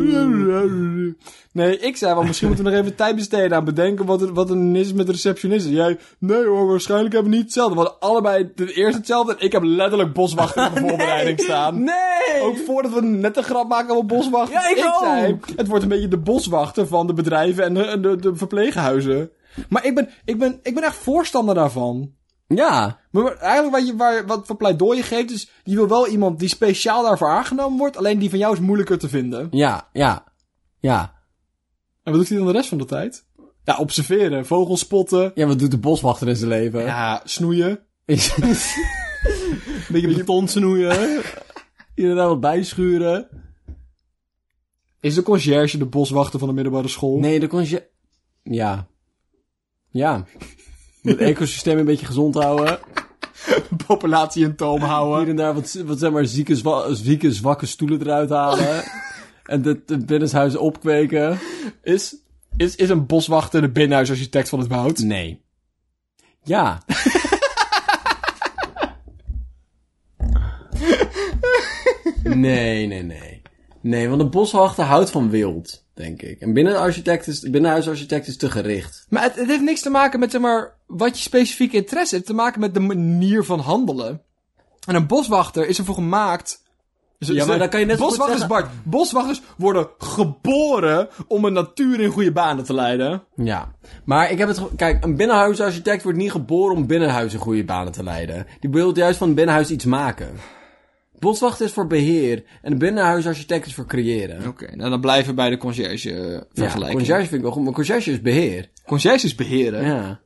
Speaker 1: Nee, nee, ik zei wel, misschien moeten we nog even tijd besteden aan bedenken wat, er, wat een is met de receptionist. En Jij, nee hoor, waarschijnlijk hebben we niet hetzelfde. We hadden allebei het eerst hetzelfde en ik heb letterlijk boswachter in de voorbereiding staan.
Speaker 3: Nee!
Speaker 1: Ook voordat we net een grap maken over boswachter.
Speaker 3: Ja, ik ook.
Speaker 1: zei, het wordt een beetje de boswachter van de bedrijven en de, en de, de verpleeghuizen. Maar ik ben, ik, ben, ik ben echt voorstander daarvan.
Speaker 3: Ja,
Speaker 1: Maar eigenlijk wat, je, waar, wat voor pleidooi je geeft is... je wil wel iemand die speciaal daarvoor aangenomen wordt... alleen die van jou is moeilijker te vinden.
Speaker 3: ja, ja, ja.
Speaker 1: En wat doet hij dan de rest van de tijd? Ja, observeren, vogels spotten...
Speaker 3: Ja, wat doet de boswachter in zijn leven?
Speaker 1: Ja, snoeien.
Speaker 3: Beetje beton snoeien. Inderdaad wat bijschuren.
Speaker 1: Is de conciërge de boswachter van de middelbare school?
Speaker 3: Nee, dan kon je... Ja. Ja. Het ecosysteem een beetje gezond houden.
Speaker 1: Populatie in toom
Speaker 3: Hier
Speaker 1: houden.
Speaker 3: en daar wat, wat zeg maar zieke, zwa- zieke, zwakke stoelen eruit halen. En het het binnenshuis opkweken.
Speaker 1: Is, is, is een boswachter de binnenhuisarchitect van het behoud?
Speaker 3: Nee. Ja. nee, nee, nee. Nee, want een boswachter houdt van wild, denk ik. En binnenarchitect is, binnenhuisarchitect is te gericht.
Speaker 1: Maar het, het heeft niks te maken met zeg maar, wat je specifieke interesse heeft. Het heeft te maken met de manier van handelen. En een boswachter is ervoor gemaakt Ze-
Speaker 3: Ja, maar
Speaker 1: ze-
Speaker 3: dan kan je net zo goed
Speaker 1: boswachters, Bart. Boswachters worden geboren om een natuur in goede banen te leiden.
Speaker 3: Ja, maar ik heb het... ge- Kijk, een binnenhuisarchitect wordt niet geboren om binnenhuis in goede banen te leiden. Die wil juist van binnenhuis iets maken. Boswacht is voor beheer en een binnenhuisarchitect is voor creëren.
Speaker 1: Oké, nou dan blijven we bij de conciërge eh,
Speaker 3: Ja,
Speaker 1: vergelijking.
Speaker 3: conciërge vind ik wel goed, maar conciërge is beheer.
Speaker 1: Conciërge is beheren.
Speaker 3: Ja.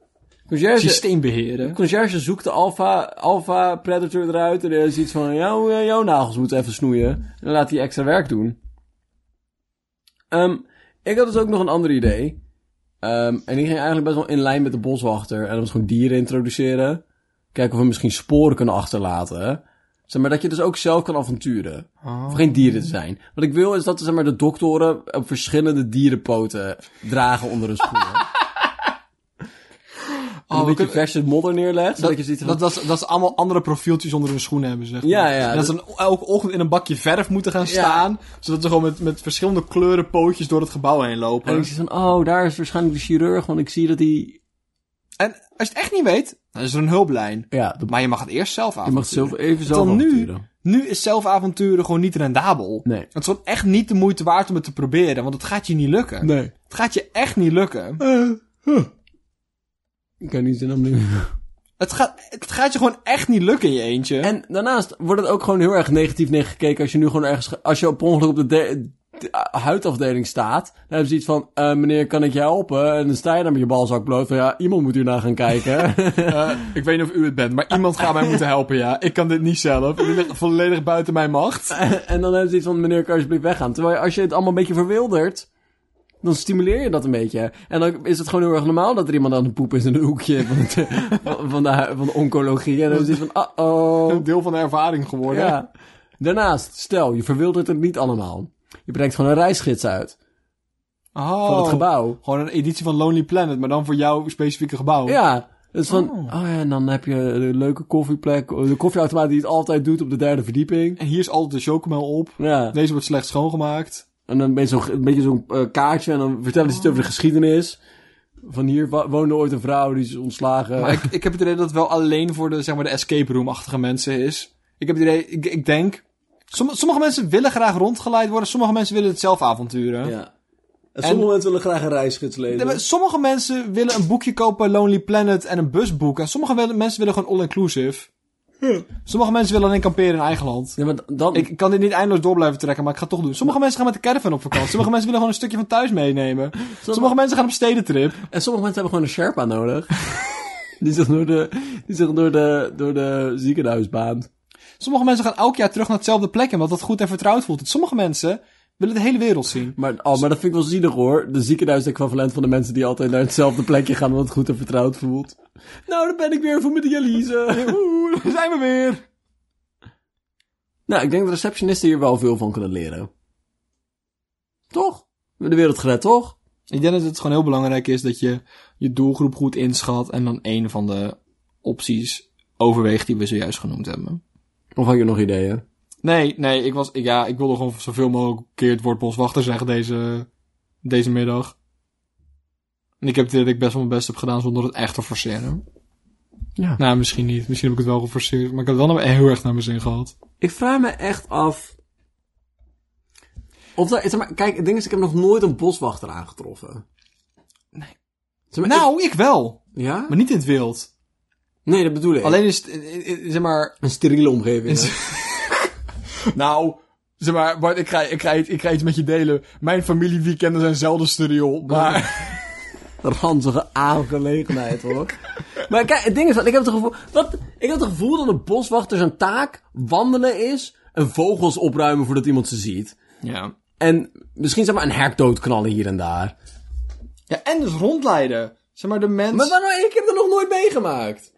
Speaker 3: Conciërge,
Speaker 1: Systeem beheren.
Speaker 3: conciërge zoekt de alpha, alpha predator eruit en er is iets van, jou, eh, jouw nagels moeten even snoeien. En dan laat hij extra werk doen. Ehm, ik had dus ook nog een ander idee. Ehm, en die ging eigenlijk best wel in lijn met de boswachter. En dat was gewoon dieren introduceren. Kijken of we misschien sporen kunnen achterlaten. Zeg maar dat je dus ook zelf kan avonturen. Of geen dieren te zijn. Wat ik wil is dat zeg maar, de doktoren op verschillende dierenpoten dragen onder hun schoenen.
Speaker 1: Oh,
Speaker 3: een
Speaker 1: we
Speaker 3: beetje
Speaker 1: kunnen-
Speaker 3: verse modder neerlegt. zodat je
Speaker 1: Dat,
Speaker 3: ziet van,
Speaker 1: dat, dat, ze- dat ze allemaal andere profieltjes onder hun schoenen hebben, zeg maar.
Speaker 3: Ja, ja,
Speaker 1: En dat ze dan elke ochtend in een bakje verf moeten gaan staan. Zodat ze gewoon met, met verschillende kleuren pootjes door het gebouw heen lopen.
Speaker 3: en ik zie van, oh, daar is waarschijnlijk de chirurg, want ik zie dat hij...
Speaker 1: En als je het echt niet weet, dan is er een hulplijn.
Speaker 3: Ja, de...
Speaker 1: Maar je mag het eerst zelf aan.
Speaker 3: je mag zelf even zelf
Speaker 1: Dan nu,
Speaker 3: avonturen.
Speaker 1: nu is zelfavonturen gewoon niet rendabel.
Speaker 3: Nee.
Speaker 1: Het is gewoon echt niet de moeite waard om het te proberen, want het gaat je niet lukken.
Speaker 5: Nee.
Speaker 1: Het gaat je echt niet lukken.
Speaker 5: Ik kan niet zin om nu.
Speaker 1: Het gaat, het gaat je gewoon echt niet lukken in je eentje.
Speaker 3: En daarnaast wordt het ook gewoon heel erg negatief neergekeken als je nu gewoon ergens... ge- Als je op ongeluk op de, de- de- eh, huidafdeling staat, dan hebben ze iets van... eh, meneer, kan ik je helpen? En dan sta je daar met je balzak bloot van... Ja, iemand moet hierna gaan kijken.
Speaker 1: Eh, ik weet niet of u het bent, maar iemand gaat mij moeten helpen, ja. Ik kan dit niet zelf. Dit ligt volledig buiten mijn macht.
Speaker 3: en dan hebben ze iets van... Meneer, kan je alsjeblieft weggaan? Terwijl je- als je het allemaal een beetje verwildert... Dan stimuleer je dat een beetje. En dan is het gewoon heel erg normaal dat er iemand aan de poep is in een hoekje van, het, van, van de, hu- van de oncologie. En dan is het van, uh-oh.
Speaker 1: Een deel van de ervaring geworden.
Speaker 3: Ja. Daarnaast, stel, je verwildert het niet allemaal. Je brengt gewoon een reisgids uit
Speaker 1: Oh,
Speaker 3: van het gebouw.
Speaker 1: Gewoon een editie van Lonely Planet, maar dan voor jouw specifieke gebouw.
Speaker 3: Ja. Het is van, oh. ja, en dan heb je de leuke koffieplek, de koffieautomaat die het altijd doet op de derde verdieping.
Speaker 1: En hier is altijd de chocomel op.
Speaker 3: Ja.
Speaker 1: Deze wordt slecht schoongemaakt.
Speaker 3: En dan ben je zo'n, een beetje zo'n eh, kaartje en dan vertellen ze iets over de geschiedenis. Van hier wa- woonde ooit een vrouw, die is ontslagen.
Speaker 1: Maar ik, ik heb het idee dat het wel alleen voor de, zeg maar, de escape room-achtige mensen is. Ik heb het idee, ik, ik denk... Somm- sommige mensen willen graag rondgeleid worden, sommige mensen willen het zelf avonturen.
Speaker 5: Ja. En sommige mensen willen graag een reisgids
Speaker 1: Nee,
Speaker 5: lezen.
Speaker 1: maar Sommige mensen willen een boekje kopen, Lonely Planet en een bus boeken. En sommige wel- mensen willen gewoon all-inclusive. Sommige mensen willen alleen kamperen in eigen land.
Speaker 3: ja, maar dan,
Speaker 1: Ik ik kan dit niet eindeloos door blijven trekken, maar ik ga het toch doen. Sommige mensen gaan met de caravan op vakantie. Sommige mensen willen gewoon een stukje van thuis meenemen. Sommige mensen gaan op stedentrip.
Speaker 3: En sommige mensen hebben gewoon een Sherpa nodig. die zich door de, die zich door de, door de ziekenhuis baant.
Speaker 1: Sommige mensen gaan elk jaar terug naar hetzelfde plek, omdat dat goed en vertrouwd voelt. Sommige mensen willen de hele wereld zien.
Speaker 3: Maar, oh, maar dat vind ik wel zielig hoor. De ziekenhuis-equivalent van de mensen die altijd naar hetzelfde plekje gaan omdat het goed en vertrouwd voelt. Nou, dan ben ik weer voor mijn dialyse.
Speaker 1: Oeh, daar zijn we weer.
Speaker 3: nou, ik denk dat receptionisten hier wel veel van kunnen leren. Toch? We hebben de wereld gered, toch?
Speaker 1: Ik denk dat het gewoon heel belangrijk is dat je je doelgroep goed inschat en dan een van de opties overweegt die we zojuist genoemd hebben.
Speaker 3: Of had je nog ideeën?
Speaker 1: Nee, nee, ik was, ik, ja, ik wilde gewoon zoveel mogelijk keer het woord boswachter zeggen deze, deze middag. En ik heb het idee dat ik best wel mijn best heb gedaan zonder het echt te forceren.
Speaker 3: Ja.
Speaker 1: Nou, misschien niet. Misschien heb ik het wel geforceerd, maar ik heb het wel naar- heel erg naar mijn zin gehad.
Speaker 3: Ik vraag me echt af. Of daar, zeg maar, kijk, het ding is, ik heb nog nooit een boswachter aangetroffen. Nee.
Speaker 1: Nou, ik wel.
Speaker 3: ja?
Speaker 1: Maar niet in het wild.
Speaker 3: nee, dat bedoel ik.
Speaker 1: Alleen is het, eh, eh, eh, zeg maar...
Speaker 3: een steriele omgeving. hè?
Speaker 1: Nou, zeg maar, Bart, ik ga, ik, ga, iets- ik ga iets met je delen. Mijn familieweekenden zijn zelden steriel, maar...
Speaker 3: ranzige aangelegenheid hoor. maar kijk, het ding is, want ik heb het gevoel, wat, ik heb het gevoel dat een boswachter zijn taak wandelen is en vogels opruimen voordat iemand ze ziet.
Speaker 1: Ja.
Speaker 3: En misschien zeg maar een hert doodknallen hier en daar.
Speaker 1: Ja, en dus rondleiden. Zeg maar, de mens...
Speaker 3: Maar waarom, ik heb dat nog nooit meegemaakt.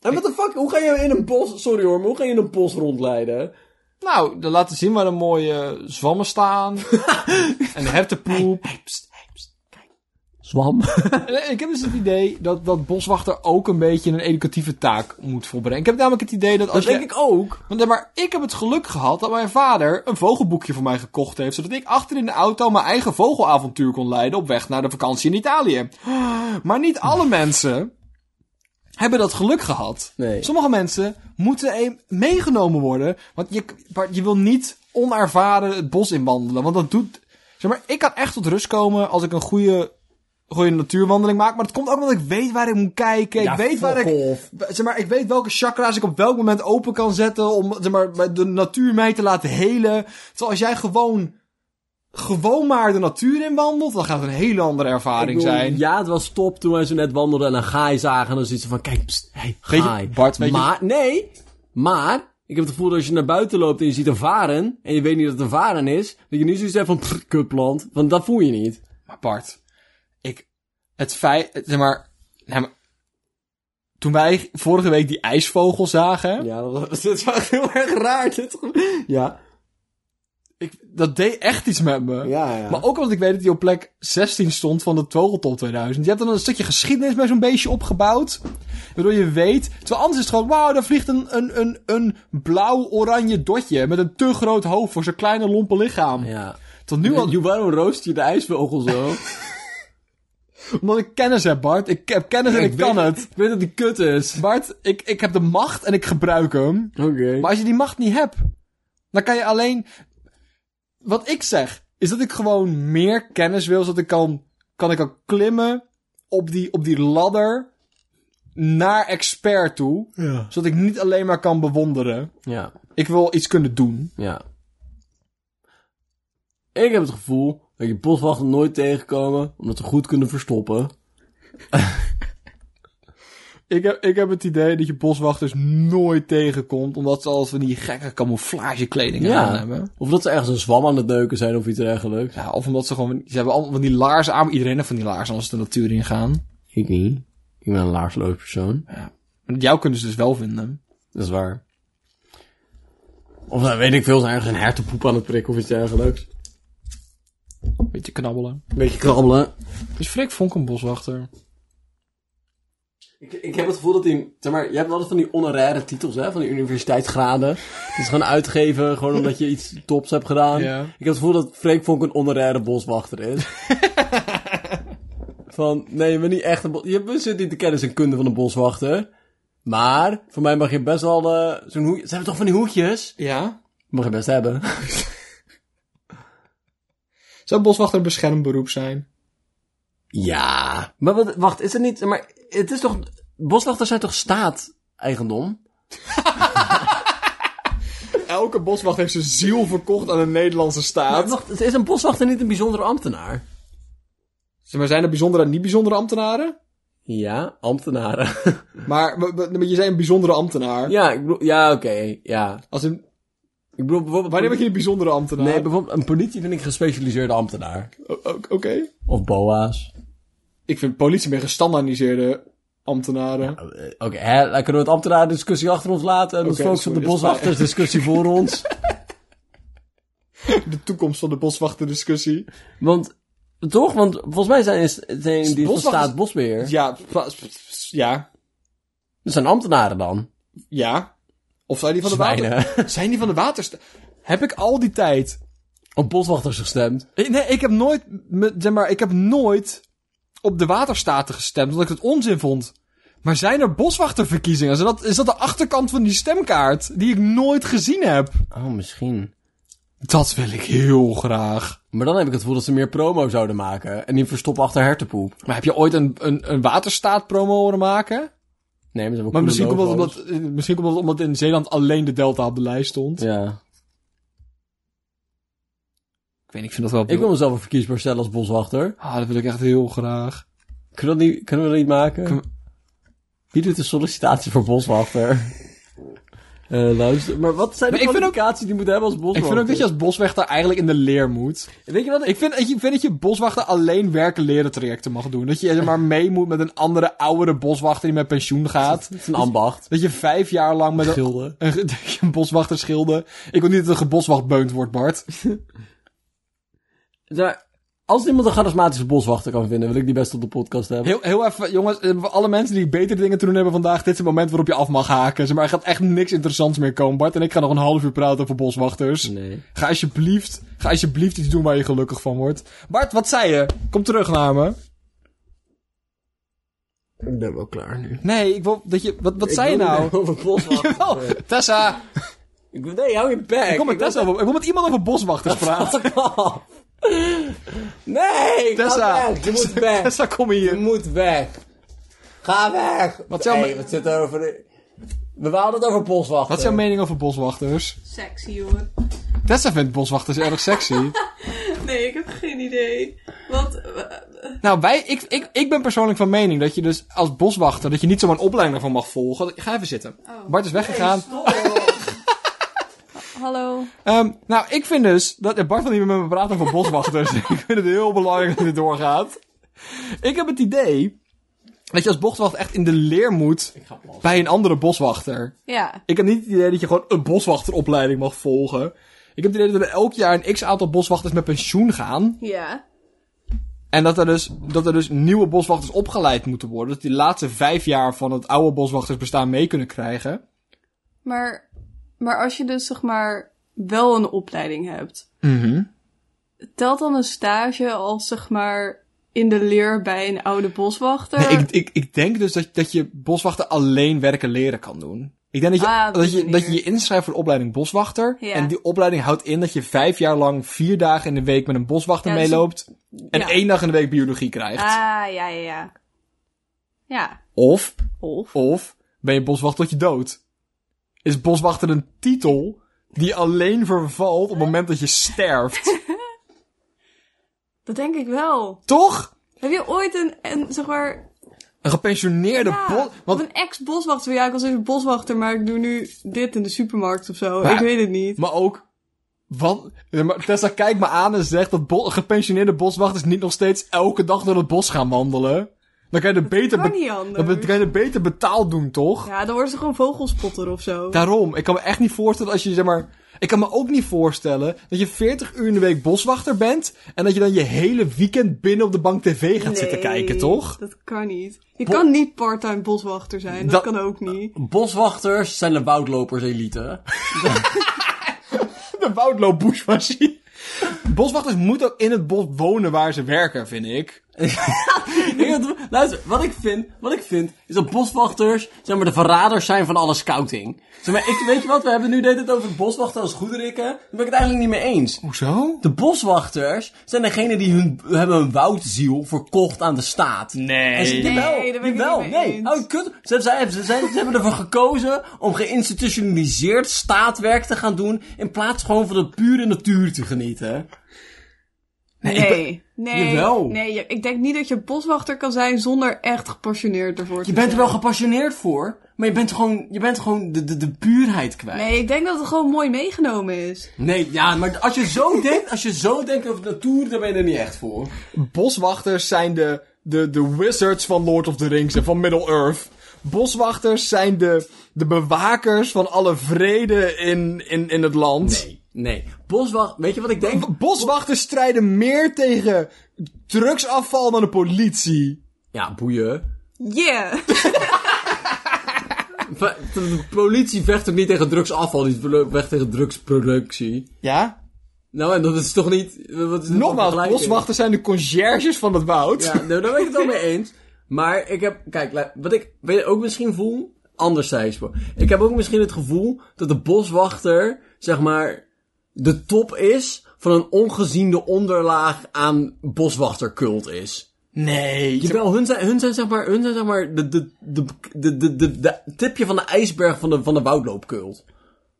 Speaker 3: En what the fuck, hoe ga je in een bos, sorry hoor, maar hoe ga je in een bos rondleiden?
Speaker 1: Nou, dan laten zien waar een mooie zwammen staan. en de hertenpoep.
Speaker 3: Zwam.
Speaker 1: Eh, Ik heb dus het idee dat, dat boswachter ook een beetje een educatieve taak moet volbrengen. Ik heb namelijk het idee dat als
Speaker 3: Dat
Speaker 1: je...
Speaker 3: denk ik ook.
Speaker 1: Want, eh, maar ik heb het geluk gehad dat mijn vader een vogelboekje voor mij gekocht heeft. Zodat ik achter in de auto mijn eigen vogelavontuur kon leiden op weg naar de vakantie in Italië. Maar niet alle mensen hebben dat geluk gehad.
Speaker 3: Nee.
Speaker 1: Sommige mensen moeten een- meegenomen worden. Want je, maar je wil niet onervaren het bos inwandelen. Want dat doet... Zeg maar, ik kan echt tot rust komen als ik een goede, goede natuurwandeling maak. Maar dat komt ook omdat ik weet waar ik moet kijken. Ik
Speaker 3: Ja,
Speaker 1: weet waar
Speaker 3: fuck
Speaker 1: ik...
Speaker 3: off.
Speaker 1: Zeg maar, ik weet welke chakra's ik op welk moment open kan zetten om zeg maar, de natuur mij te laten helen. Terwijl als jij gewoon, gewoon maar de natuur in wandelt, dan gaat het een hele andere
Speaker 3: Ik
Speaker 1: ervaring
Speaker 3: bedoel,
Speaker 1: zijn.
Speaker 3: Ja, het was top toen wij zo net wandelden en een gaai zagen. En dan zoiets van, kijk, pst, hey,
Speaker 1: Weet je,
Speaker 3: gaai.
Speaker 1: Bart, weet je-
Speaker 3: maar, nee, maar, ik heb het gevoel dat als je naar buiten loopt en je ziet een varen. En je weet niet dat het een varen is. Dat je niet zoiets hebt van, pff, kutplant. Want dat voel je niet.
Speaker 1: Maar Bart, ik, het feit, zeg maar, nee, maar- toen wij vorige week die ijsvogel zagen,
Speaker 3: Ja, dat, dat is echt heel erg raar. Dit, ja,
Speaker 1: ik, dat deed echt iets met me.
Speaker 3: ja, ja.
Speaker 1: Maar ook omdat ik weet dat hij op plek 16 stond van de Togeltop 2000. Je hebt dan een stukje geschiedenis bij zo'n beestje opgebouwd. Waardoor je weet. Terwijl anders is het gewoon, wauw, daar vliegt een, een, een, een blauw-oranje dotje. Met een te groot hoofd voor zijn kleine lompe lichaam.
Speaker 3: ja.
Speaker 1: Tot nu al.
Speaker 3: Ju- waarom roost je de ijsvogel zo?
Speaker 1: Omdat ik kennis heb, Bart. Ik heb kennis en ik,
Speaker 3: weet-
Speaker 1: kan het.
Speaker 3: Ik weet dat die kut is.
Speaker 1: Bart, ik, ik heb de macht en ik gebruik hem.
Speaker 3: Oké.
Speaker 1: Maar als je die macht niet hebt, dan kan je alleen. Wat ik zeg, is dat ik gewoon meer kennis wil, zodat ik kan, kan ik ook klimmen op die, op die ladder naar expert toe. Zodat ik niet alleen maar kan bewonderen.
Speaker 3: Ja,
Speaker 1: Ik wil iets kunnen doen.
Speaker 3: ja. Ik heb het gevoel dat je boswachten nooit tegenkomen, omdat ze goed kunnen verstoppen.
Speaker 1: Ik heb, ik heb het idee dat je boswachters nooit tegenkomt, omdat ze al van die gekke camouflagekleding
Speaker 3: Ja.
Speaker 1: aan hebben.
Speaker 3: Of dat ze ergens een zwam aan het neuken zijn of iets dergelijks.
Speaker 1: Ja, of omdat ze gewoon, ze hebben allemaal van die laarzen aan, maar iedereen heeft van die laarzen als ze de natuur ingaan.
Speaker 3: Ik niet. Ik ben een laarsloos persoon.
Speaker 1: Jou kunnen ze dus wel vinden.
Speaker 3: Dat is waar. Of dan weet ik veel, zijn ergens een hertenpoep aan het prikken of iets dergelijks.
Speaker 1: Beetje knabbelen.
Speaker 3: Een beetje krabbelen.
Speaker 1: Is Freek Vonk een boswachter?
Speaker 3: Ik, ik heb het gevoel dat die... Zeg maar, je hebt altijd van die honoraire titels, hè? Van die universiteitsgraden. Het is gewoon uitgeven, gewoon omdat je iets tops hebt gedaan.
Speaker 1: Ja.
Speaker 3: Ik heb het gevoel dat Freek Vonk een honoraire boswachter is. van, nee, je bent niet echt een bos... Je bezit niet de kennis en kunde van een boswachter. Maar, voor mij mag je best wel eh, zo'n hoekje... Ze hebben toch van die hoekjes?
Speaker 1: Ja.
Speaker 3: Mag je best hebben.
Speaker 1: Zou boswachter een beschermd beroep zijn?
Speaker 3: Ja. Maar wat, wacht, is het niet... Maar het is toch... Boswachters zijn toch staat-eigendom?
Speaker 1: Elke boswachter heeft zijn ziel verkocht aan de Nederlandse staat.
Speaker 3: Wacht, is een boswachter niet een bijzondere ambtenaar?
Speaker 1: Zeg maar, zijn er bijzondere en niet-bijzondere ambtenaren?
Speaker 3: Ja, ambtenaren.
Speaker 1: Maar, maar- maar je zei een bijzondere ambtenaar.
Speaker 3: ja, ik bedoel, ja, oké, ja.
Speaker 1: Als een,
Speaker 3: Ik bedoel, bijvoorbeeld...
Speaker 1: wanneer ben je een bijzondere ambtenaar?
Speaker 3: Nee, bijvoorbeeld een politie vind ik een gespecialiseerde ambtenaar.
Speaker 1: O- o- Oké.
Speaker 3: Of boa's.
Speaker 1: Ik vind politie meer gestandaardiseerde ambtenaren.
Speaker 3: Eh, Oké, hè, dan kunnen we het ambtenaren-discussie achter ons laten. En dan
Speaker 1: Oh, Oké,
Speaker 3: focussen we
Speaker 1: sorry, dat
Speaker 3: op de
Speaker 1: is
Speaker 3: boswachters-discussie voor ons.
Speaker 1: De toekomst van de boswachterdiscussie.
Speaker 3: Want, toch? Want volgens mij zijn, zijn die van
Speaker 1: Boswachters-
Speaker 3: staat bosbeheer.
Speaker 1: Ja, pa- ja,
Speaker 3: Dat zijn ambtenaren dan.
Speaker 1: ja. Of zijn die van de
Speaker 3: Zwijnen.
Speaker 1: water... Zijn die van de waterstaat? Heb ik al die tijd
Speaker 3: Op boswachters gestemd.
Speaker 1: Ik- Nee, ik heb nooit, me- zeg maar, ik heb nooit op de waterstaten gestemd, omdat ik het onzin vond. Maar zijn er boswachterverkiezingen? Is dat, is dat de achterkant van die stemkaart die ik nooit gezien heb?
Speaker 3: Oh, misschien.
Speaker 1: Dat wil ik heel graag.
Speaker 3: Maar dan heb ik het gevoel dat ze meer promo zouden maken. En niet verstoppen achter hertenpoep.
Speaker 1: Maar heb je ooit een, een, een waterstaatpromo horen maken?
Speaker 3: Nee, maar ze hebben ook
Speaker 1: Maar
Speaker 3: coole
Speaker 1: misschien komt, dat
Speaker 3: logo's.
Speaker 1: omdat, eh, misschien komt dat omdat in Zeeland alleen de Delta op de lijst stond.
Speaker 3: Ja.
Speaker 1: Ik weet niet, ik vind dat wel...
Speaker 3: Ik wil mezelf een verkiesbaar stellen als boswachter.
Speaker 1: Ah, dat wil ik echt heel graag.
Speaker 3: Kunnen we dat niet, kunnen we dat niet maken?
Speaker 1: Kun-
Speaker 3: Wie doet de sollicitatie voor boswachter? Eh, luister, maar wat zijn de
Speaker 1: Maar ik vind ook-
Speaker 3: kwalificaties die je moet hebben als
Speaker 1: Ik
Speaker 3: boswachter?
Speaker 1: vind ook dat je als boswachter eigenlijk in de leer moet.
Speaker 3: Weet je wat? Ik...
Speaker 1: Ik vind, ik vind dat je boswachter alleen werken leren trajecten mag doen. Dat je zeg maar mee moet met een andere oudere boswachter die met pensioen gaat.
Speaker 3: Het is een ambacht.
Speaker 1: Dat je vijf jaar lang met een,
Speaker 3: Gilde.
Speaker 1: een, dat je een boswachter schilde. Ik wil niet dat een geboswachtbeunt wordt, Bart.
Speaker 3: Daar- Als iemand een charismatische boswachter kan vinden, wil ik die best op de podcast hebben.
Speaker 1: Heel, heel even, jongens, eh, voor alle mensen die betere dingen te doen hebben vandaag, dit is het moment waarop je af mag haken. Zeg maar er gaat echt niks interessants meer komen. Bart en ik gaan nog een half uur praten over boswachters.
Speaker 3: Nee.
Speaker 1: Ga alsjeblieft, ga alsjeblieft iets doen waar je gelukkig van wordt. Bart, wat zei je? Kom terug naar me.
Speaker 5: Ik ben wel klaar nu.
Speaker 1: Nee, ik wil dat je... Wat, wat zei je
Speaker 5: Ik wil
Speaker 1: nou?
Speaker 5: niet meer Over boswachters.
Speaker 1: Jawel, Tessa.
Speaker 5: Ik wil- nee, hou je bek.
Speaker 1: Ik kom met
Speaker 5: Ik wil-
Speaker 1: Tessa over... Ik wil met iemand over boswachters praten.
Speaker 5: Nee,
Speaker 1: Tessa.
Speaker 5: ga weg. Je moet weg.
Speaker 1: Tessa, kom
Speaker 5: Je
Speaker 1: hier.
Speaker 5: moet weg. Ga weg.
Speaker 1: Wat zou
Speaker 5: Hey,
Speaker 1: me-
Speaker 5: wat zit er over de... We hadden het over boswachten.
Speaker 1: Wat is jouw mening over boswachters?
Speaker 6: Sexy, jongen.
Speaker 1: Tessa vindt boswachters erg sexy.
Speaker 6: Nee, ik heb geen idee. Want, eh,
Speaker 1: nou, wij, ik, ik, ik ben persoonlijk van mening dat je dus als boswachter... dat je niet zomaar een opleiding ervan mag volgen. Ga even zitten.
Speaker 6: Oh.
Speaker 1: Bart is weggegaan.
Speaker 6: hallo.
Speaker 1: Ehm, nou, ik vind dus dat eh, Bart wil niet meer met me praten over boswachters. ik vind het heel belangrijk dat dit doorgaat. Ik heb het idee dat je als boswachter echt in de leer moet bij een andere boswachter.
Speaker 6: Ja.
Speaker 1: Ik heb niet het idee dat je gewoon een boswachteropleiding mag volgen. Ik heb het idee dat er elk jaar een x aantal boswachters met pensioen gaan.
Speaker 6: Ja.
Speaker 1: En dat er, dus, dat er dus nieuwe boswachters opgeleid moeten worden. Dat die laatste vijf jaar van het oude boswachtersbestaan mee kunnen krijgen.
Speaker 6: Maar, maar als je dus zeg maar wel een opleiding hebt,
Speaker 1: Mhm.
Speaker 6: telt dan een stage als zeg maar in de leer bij een oude boswachter?
Speaker 1: Nee, ik, ik, ik denk dus dat, dat je boswachter alleen werken leren kan doen. Ik denk dat je,
Speaker 6: Ah, op die
Speaker 1: dat, je,
Speaker 6: manier.
Speaker 1: dat je je inschrijft voor de opleiding boswachter.
Speaker 6: Ja.
Speaker 1: En die opleiding houdt in dat je vijf jaar lang vier dagen in de week met een boswachter
Speaker 6: Ja, dus-
Speaker 1: meeloopt. En
Speaker 6: ja.
Speaker 1: één dag in de week biologie krijgt.
Speaker 6: Ah, ja, ja, ja. Ja.
Speaker 1: Of,
Speaker 6: Of.
Speaker 1: of ben je boswachter tot je dood. Is boswachter een titel die alleen vervalt op het moment dat je sterft.
Speaker 6: Dat denk ik wel.
Speaker 1: Toch?
Speaker 6: Heb je ooit een, een zeg maar,
Speaker 1: Een gepensioneerde
Speaker 6: ja,
Speaker 1: bos...
Speaker 6: want...
Speaker 1: Want
Speaker 6: een ex-boswachter? Ja, ik was even boswachter, maar ik doe nu dit in de supermarkt of zo.
Speaker 1: Maar-
Speaker 6: ik weet het niet.
Speaker 1: Maar ook. Wat? Ja, maar Tessa kijkt me aan en zegt dat bo- gepensioneerde boswachters niet nog steeds elke dag door het bos gaan wandelen. Dan kan je er beter,
Speaker 6: kan
Speaker 1: be-
Speaker 6: niet
Speaker 1: dan
Speaker 6: anders.
Speaker 1: be- kan je er beter betaald doen, toch?
Speaker 6: Ja, dan worden ze gewoon vogelspotter of zo.
Speaker 1: Daarom. Ik kan me echt niet voorstellen als je zeg maar. Ik kan me ook niet voorstellen dat je 40 uur in de week boswachter bent. En dat je dan je hele weekend binnen op de bank tv gaat zitten
Speaker 6: Nee,
Speaker 1: kijken, toch?
Speaker 6: Dat kan niet. Je
Speaker 1: Bo-
Speaker 6: kan niet parttime boswachter zijn. Dat,
Speaker 1: Dat-
Speaker 6: kan ook niet.
Speaker 3: Boswachters zijn de woudlopers-elite.
Speaker 1: De woudloopbush was hij. Boswachters moeten ook in het bos wonen waar ze werken, vind ik.
Speaker 3: Ik denk dat- Luister, wat ik vind, wat ik vind, is dat boswachters, zeg maar, de verraders zijn van alle scouting. Zeg maar, ik, weet je wat, we hebben nu deed het over de boswachter als goederikken. Daar ben ik het eigenlijk niet mee eens.
Speaker 1: Hoezo?
Speaker 3: De boswachters zijn degene die hun, hebben hun woudziel verkocht aan de staat.
Speaker 1: Nee.
Speaker 3: En ze,
Speaker 1: Nee,
Speaker 3: jawel,
Speaker 6: daar ben ik het
Speaker 3: jawel,
Speaker 6: niet mee
Speaker 3: nee.
Speaker 6: eens.
Speaker 3: Oh, kut. Ze, hebben- ze, ze, ze hebben ervoor gekozen om geïnstitutionaliseerd staatwerk te gaan doen, in plaats gewoon van de pure natuur te genieten.
Speaker 6: Nee. Nee. nee.
Speaker 3: Jawel.
Speaker 6: je- ik denk niet dat je boswachter kan zijn zonder echt gepassioneerd ervoor te
Speaker 3: Je bent er
Speaker 6: zijn.
Speaker 3: wel gepassioneerd voor, maar je bent gewoon, je bent gewoon de, de, de puurheid kwijt.
Speaker 6: Nee, ik denk dat het gewoon mooi meegenomen is.
Speaker 3: Nee, ja, maar als je zo denkt, als je zo denkt over de natuur, dan ben je er niet echt voor.
Speaker 1: Boswachters zijn de, de, de wizards van Lord of the Rings en van Middle-earth. Boswachters zijn de, de bewakers van alle vrede in, in, in het land.
Speaker 3: Nee, nee. Boswacht, weet je wat ik denk?
Speaker 1: B- Boswachters strijden meer tegen drugsafval dan de politie.
Speaker 3: Ja, boeien.
Speaker 6: Yeah.
Speaker 3: Va- De de politie vecht ook niet tegen drugsafval, die vlo- vecht tegen drugsproductie.
Speaker 1: Ja?
Speaker 3: Nou, en dat is toch niet... Wat is dit voor
Speaker 1: Nogmaals,
Speaker 3: vergelijking?
Speaker 1: boswachters zijn de conciërges van het woud.
Speaker 3: Ja, nou, daar ben ik het wel mee eens. Maar ik heb, kijk, lu- wat ik weet, ook misschien voel, anderzijds. hoor. Ik heb ook misschien het gevoel dat de boswachter, zeg maar, de top is van een ongeziene onderlaag aan boswachtercult is.
Speaker 1: Nee.
Speaker 3: Jawel, hun zijn, hun zijn zeg maar, hun zijn zeg maar de, de, de, de, de, de, de tipje van de ijsberg van de, van de woudloopkult.